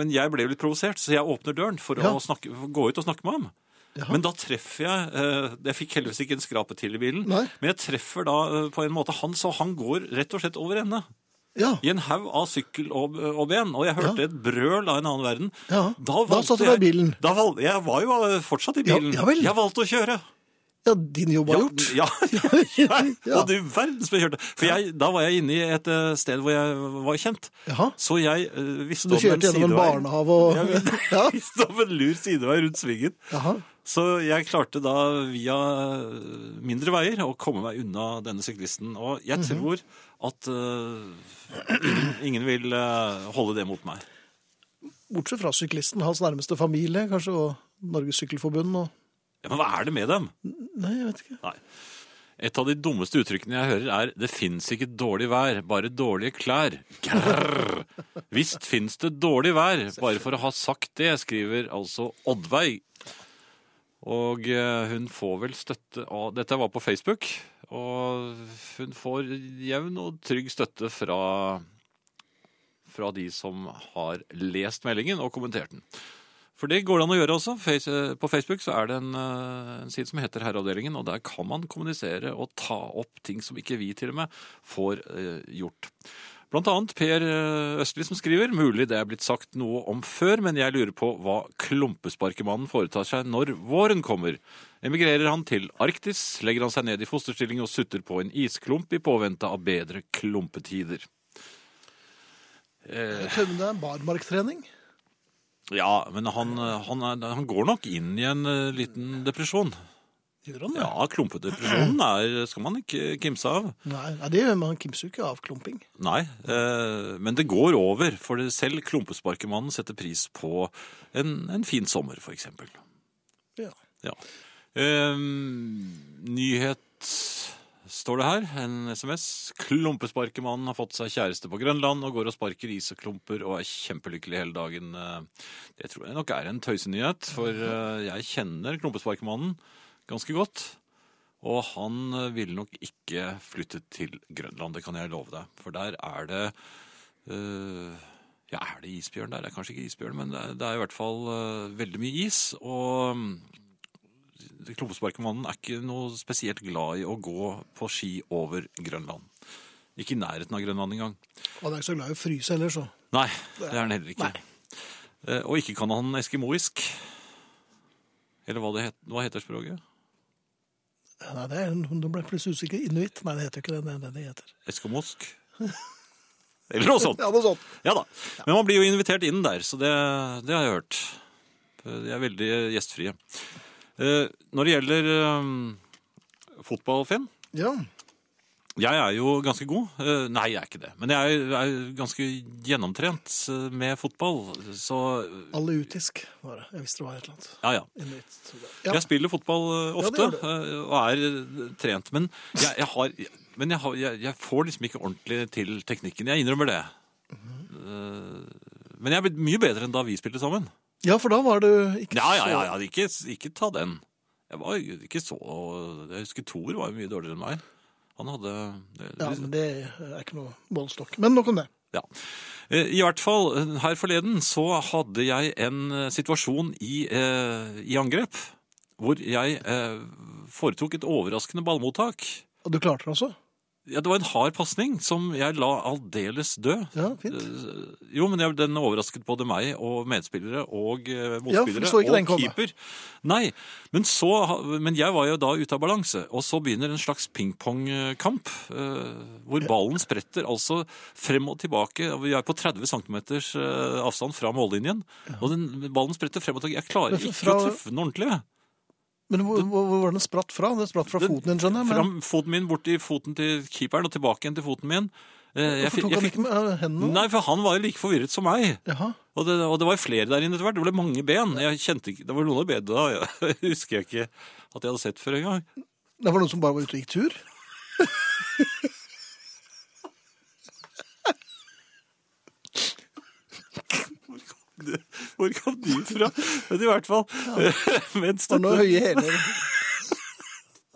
Men jeg ble jo litt provosert, så jeg åpner døren for Ja. å snakke, for å gå ut og snakke med ham. Jaha. Men da treffer jeg eh, Jeg fikk heldigvis ikke en skrape til i bilen, Nei. men jeg treffer da eh, på en måte han, så han går rett og slett over ende Ja. i en haug av sykkel og, og ben, og jeg hørte et brøl av en annen verden. Ja. Da valgte satt du deg i jeg- bilen. Da valg- jeg var jo eh, fortsatt i Ja, bilen. ja vel. Jeg valgte å kjøre. ja, din jobb var gjort. Ja, ja, ja. Ja. Og du verden som jeg kjørte. For jeg, da var jeg inne i et eh, sted hvor jeg var kjent. Jaha. Så jeg eh, visste Du om en kjørte gjennom en sidevei. barnehave og Ja. Jeg visste om en lur sidevei rundt svingen. Jaha. Så jeg klarte da via eh, mindre veier å komme meg unna denne syklisten. Og jeg tror at eh, ingen, ingen vil eh, holde det mot meg. Bortsett fra syklisten, hans nærmeste familie, kanskje, og Norges Sykkelforbund og Ja, Men hva er det med dem? Nei, jeg vet ikke. Nei. Et av de dummeste uttrykkene jeg hører er 'det fins ikke dårlig vær, bare dårlige klær'. Grrr. Visst fins det dårlig vær, bare for å ha sagt det, skriver altså Oddveig. Og eh, hun får vel støtte av Dette var på Facebook. Og hun får jevn og trygg støtte fra, fra de som har lest meldingen og kommentert den. For det går det an å gjøre også. Face, eh, på Facebook så er det en, eh, en side som heter Herreavdelingen, og der kan man kommunisere og ta opp ting som ikke vi til og med får eh, gjort. Blant annet Per eh, Østli som skriver, mulig det er blitt sagt noe om før, men jeg lurer på hva klumpesparkemannen foretar seg når våren kommer. Emigrerer han til Arktis, legger han seg ned i fosterstilling og sutter på en isklump i påvente av bedre klumpetider. Eh, Jeg tror det er barmarktrening. ja, men han, han, er, han går nok inn i en eh, liten depresjon. Gjør han det? Ja, klumpedepresjonen er, skal man ikke kimse av. Nei, nei, det gjør man kimser jo ikke av klumping. Nei, eh, men det går over, for det- selv klumpesparkemannen setter pris på en, en fin sommer, for eksempel. Ja. Ja. Eh, nyhetssaker Ehm, står det her. En SMS. Klumpesparkemannen har fått seg kjæreste på Grønland og går og sparker isklumper og er kjempelykkelig hele dagen. Eh, Det tror jeg nok er en tøysenyhet, for eh, jeg kjenner klumpesparkemannen ganske godt. Og han eh, ville nok ikke flytte til Grønland, det kan jeg love deg. For der er det eh, Ja, er det isbjørn der? Det er kanskje ikke isbjørn, men det er, det er i hvert fall eh, veldig mye is. Og mm, Klumpesparkemannen er ikke noe spesielt glad i å gå på ski over Grønland. Ikke i nærheten av Grønland engang. Og han er ikke så glad i å fryse heller, så. Nei, det er han heller ikke. Eh, Og ikke kan han eskimoisk. Eller hva, det het, hva heter språket? Nei, det er, nå ble jeg plutselig usikker. Inuitt? Nei, det heter jo ikke det. Det er det det heter. Eskimosk? Eller noe sånt. Ja, sånn. noe sånt. Ja da. Men man blir jo invitert inn der, så det, det har jeg hørt. De er veldig gjestfrie. Eh, Når det gjelder eh, fotball, Finn, Ja. Jeg er jo ganske god. Eh, Nei, jeg er ikke det. Men jeg er- er ganske gjennomtrent eh, med fotball. Så Aleutisk var det. Jeg visste det var et eller annet. ja, ja. Inuitt. tror jeg. Ja. Jeg spiller fotball eh, Ja, det ofte gjør du. eh, og er eh, trent. Men jeg, jeg, har, men jeg, har, jeg, jeg får liksom ikke ordentlig til teknikken. Jeg innrømmer det. Eh, Men jeg er blitt mye bedre enn da vi spilte sammen. ja, for da var du ikke Ja, ja, ja, så ja. Ikke, ikke ta den. Jeg var jo ikke så Jeg husker Thor var jo mye dårligere enn meg. Han hadde Ja, men det er ikke noe målestokk. Men nok om det. Ja. Eh, I hvert fall, eh, her forleden så hadde jeg en eh, situasjon i, eh, i angrep, hvor jeg eh, foretok et overraskende ballmottak. Og du klarte det også? Ja, det var en hard pasning som jeg la aldeles død. Ja, fint. Eh, Jo, men jeg, den overrasket både meg og medspillere og eh, Ja, for du motspillere så ikke den og komme. keeper. Nei, men, så, ha- men jeg var jo da ute av balanse, og så begynner en slags pingpongkamp, eh, hvor ballen spretter altså frem og tilbake. og Vi er på 30 cm avstand fra mållinjen, og den, ballen spretter frem og tilbake. Jeg klarer Men ikke fra- å treffe den ordentlig. jeg. Men hvor, hvor, hvor var den spratt fra? Den spratt fra Den- foten din, skjønner jeg. Fra Men foten min bort til foten til keeperen og tilbake igjen til foten min. Eh, Jeg, hvorfor fikk- tok jeg han fikk ikke med eh, hendene? Nei, for han var jo like forvirret som meg. Jaha. Og det, og det var flere der inne etter hvert. Det ble mange ben. Jeg kjente ikke, Det var noen av bedene da. Jeg husker jeg ikke at jeg hadde sett før engang. Det var noen som bare var ute og gikk tur? Hvor kom de fra? Men i hvert fall mens Det var noen dette, høye hæler.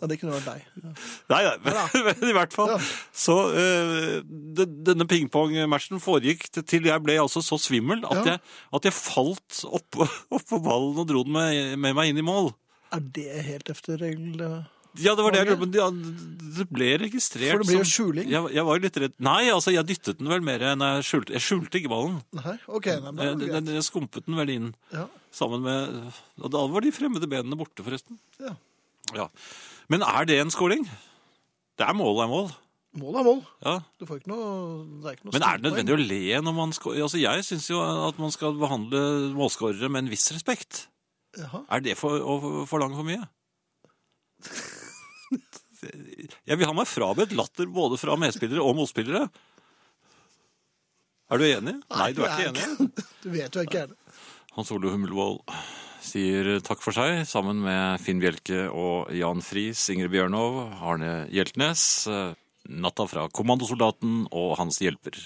Ja, det kunne vært deg. Ja. Nei, nei, men, men i hvert fall. Ja. Så eh, de- denne pingpongmatchen foregikk til- til jeg ble altså så svimmel at, Ja. jeg, at jeg falt oppå opp på ballen og dro den med, med meg inn i mål. Er det helt efter regel? eh? Ja, det var det jeg Var det? lurte på. men ja, Det ble registrert For det blir jo som- skjuling. Jeg, jeg var jo litt redd. Nei, altså, jeg dyttet den vel mer enn jeg skjulte. Jeg skjulte ikke ballen. Nei? OK. Nei, men, Jeg, det er greit. den- jeg skumpet den vel inn ja. sammen med Og da var de fremmede benene borte, forresten. Ja. Ja. Men er det en skåling? Det er mål er mål. Mål er mål. Ja. Du får ikke noe, det er ikke noe Men er det nødvendig å le når man skårer? Altså, jeg syns jo at man skal behandle målskårere med en viss respekt. Jaha. Er det for, å forlange for mye? Jeg vil ha meg frabedt latter både fra medspillere og motspillere. Er du enig? Nei, du er ikke jeg enig. Du vet jo ikke er det. Hans Ole Hummelvold sier takk for seg, sammen med Finn Bjelke og Jan Friis, Ingrid Bjørnov, Arne Hjeltnes, eh, Natta fra Kommandosoldaten og hans hjelper.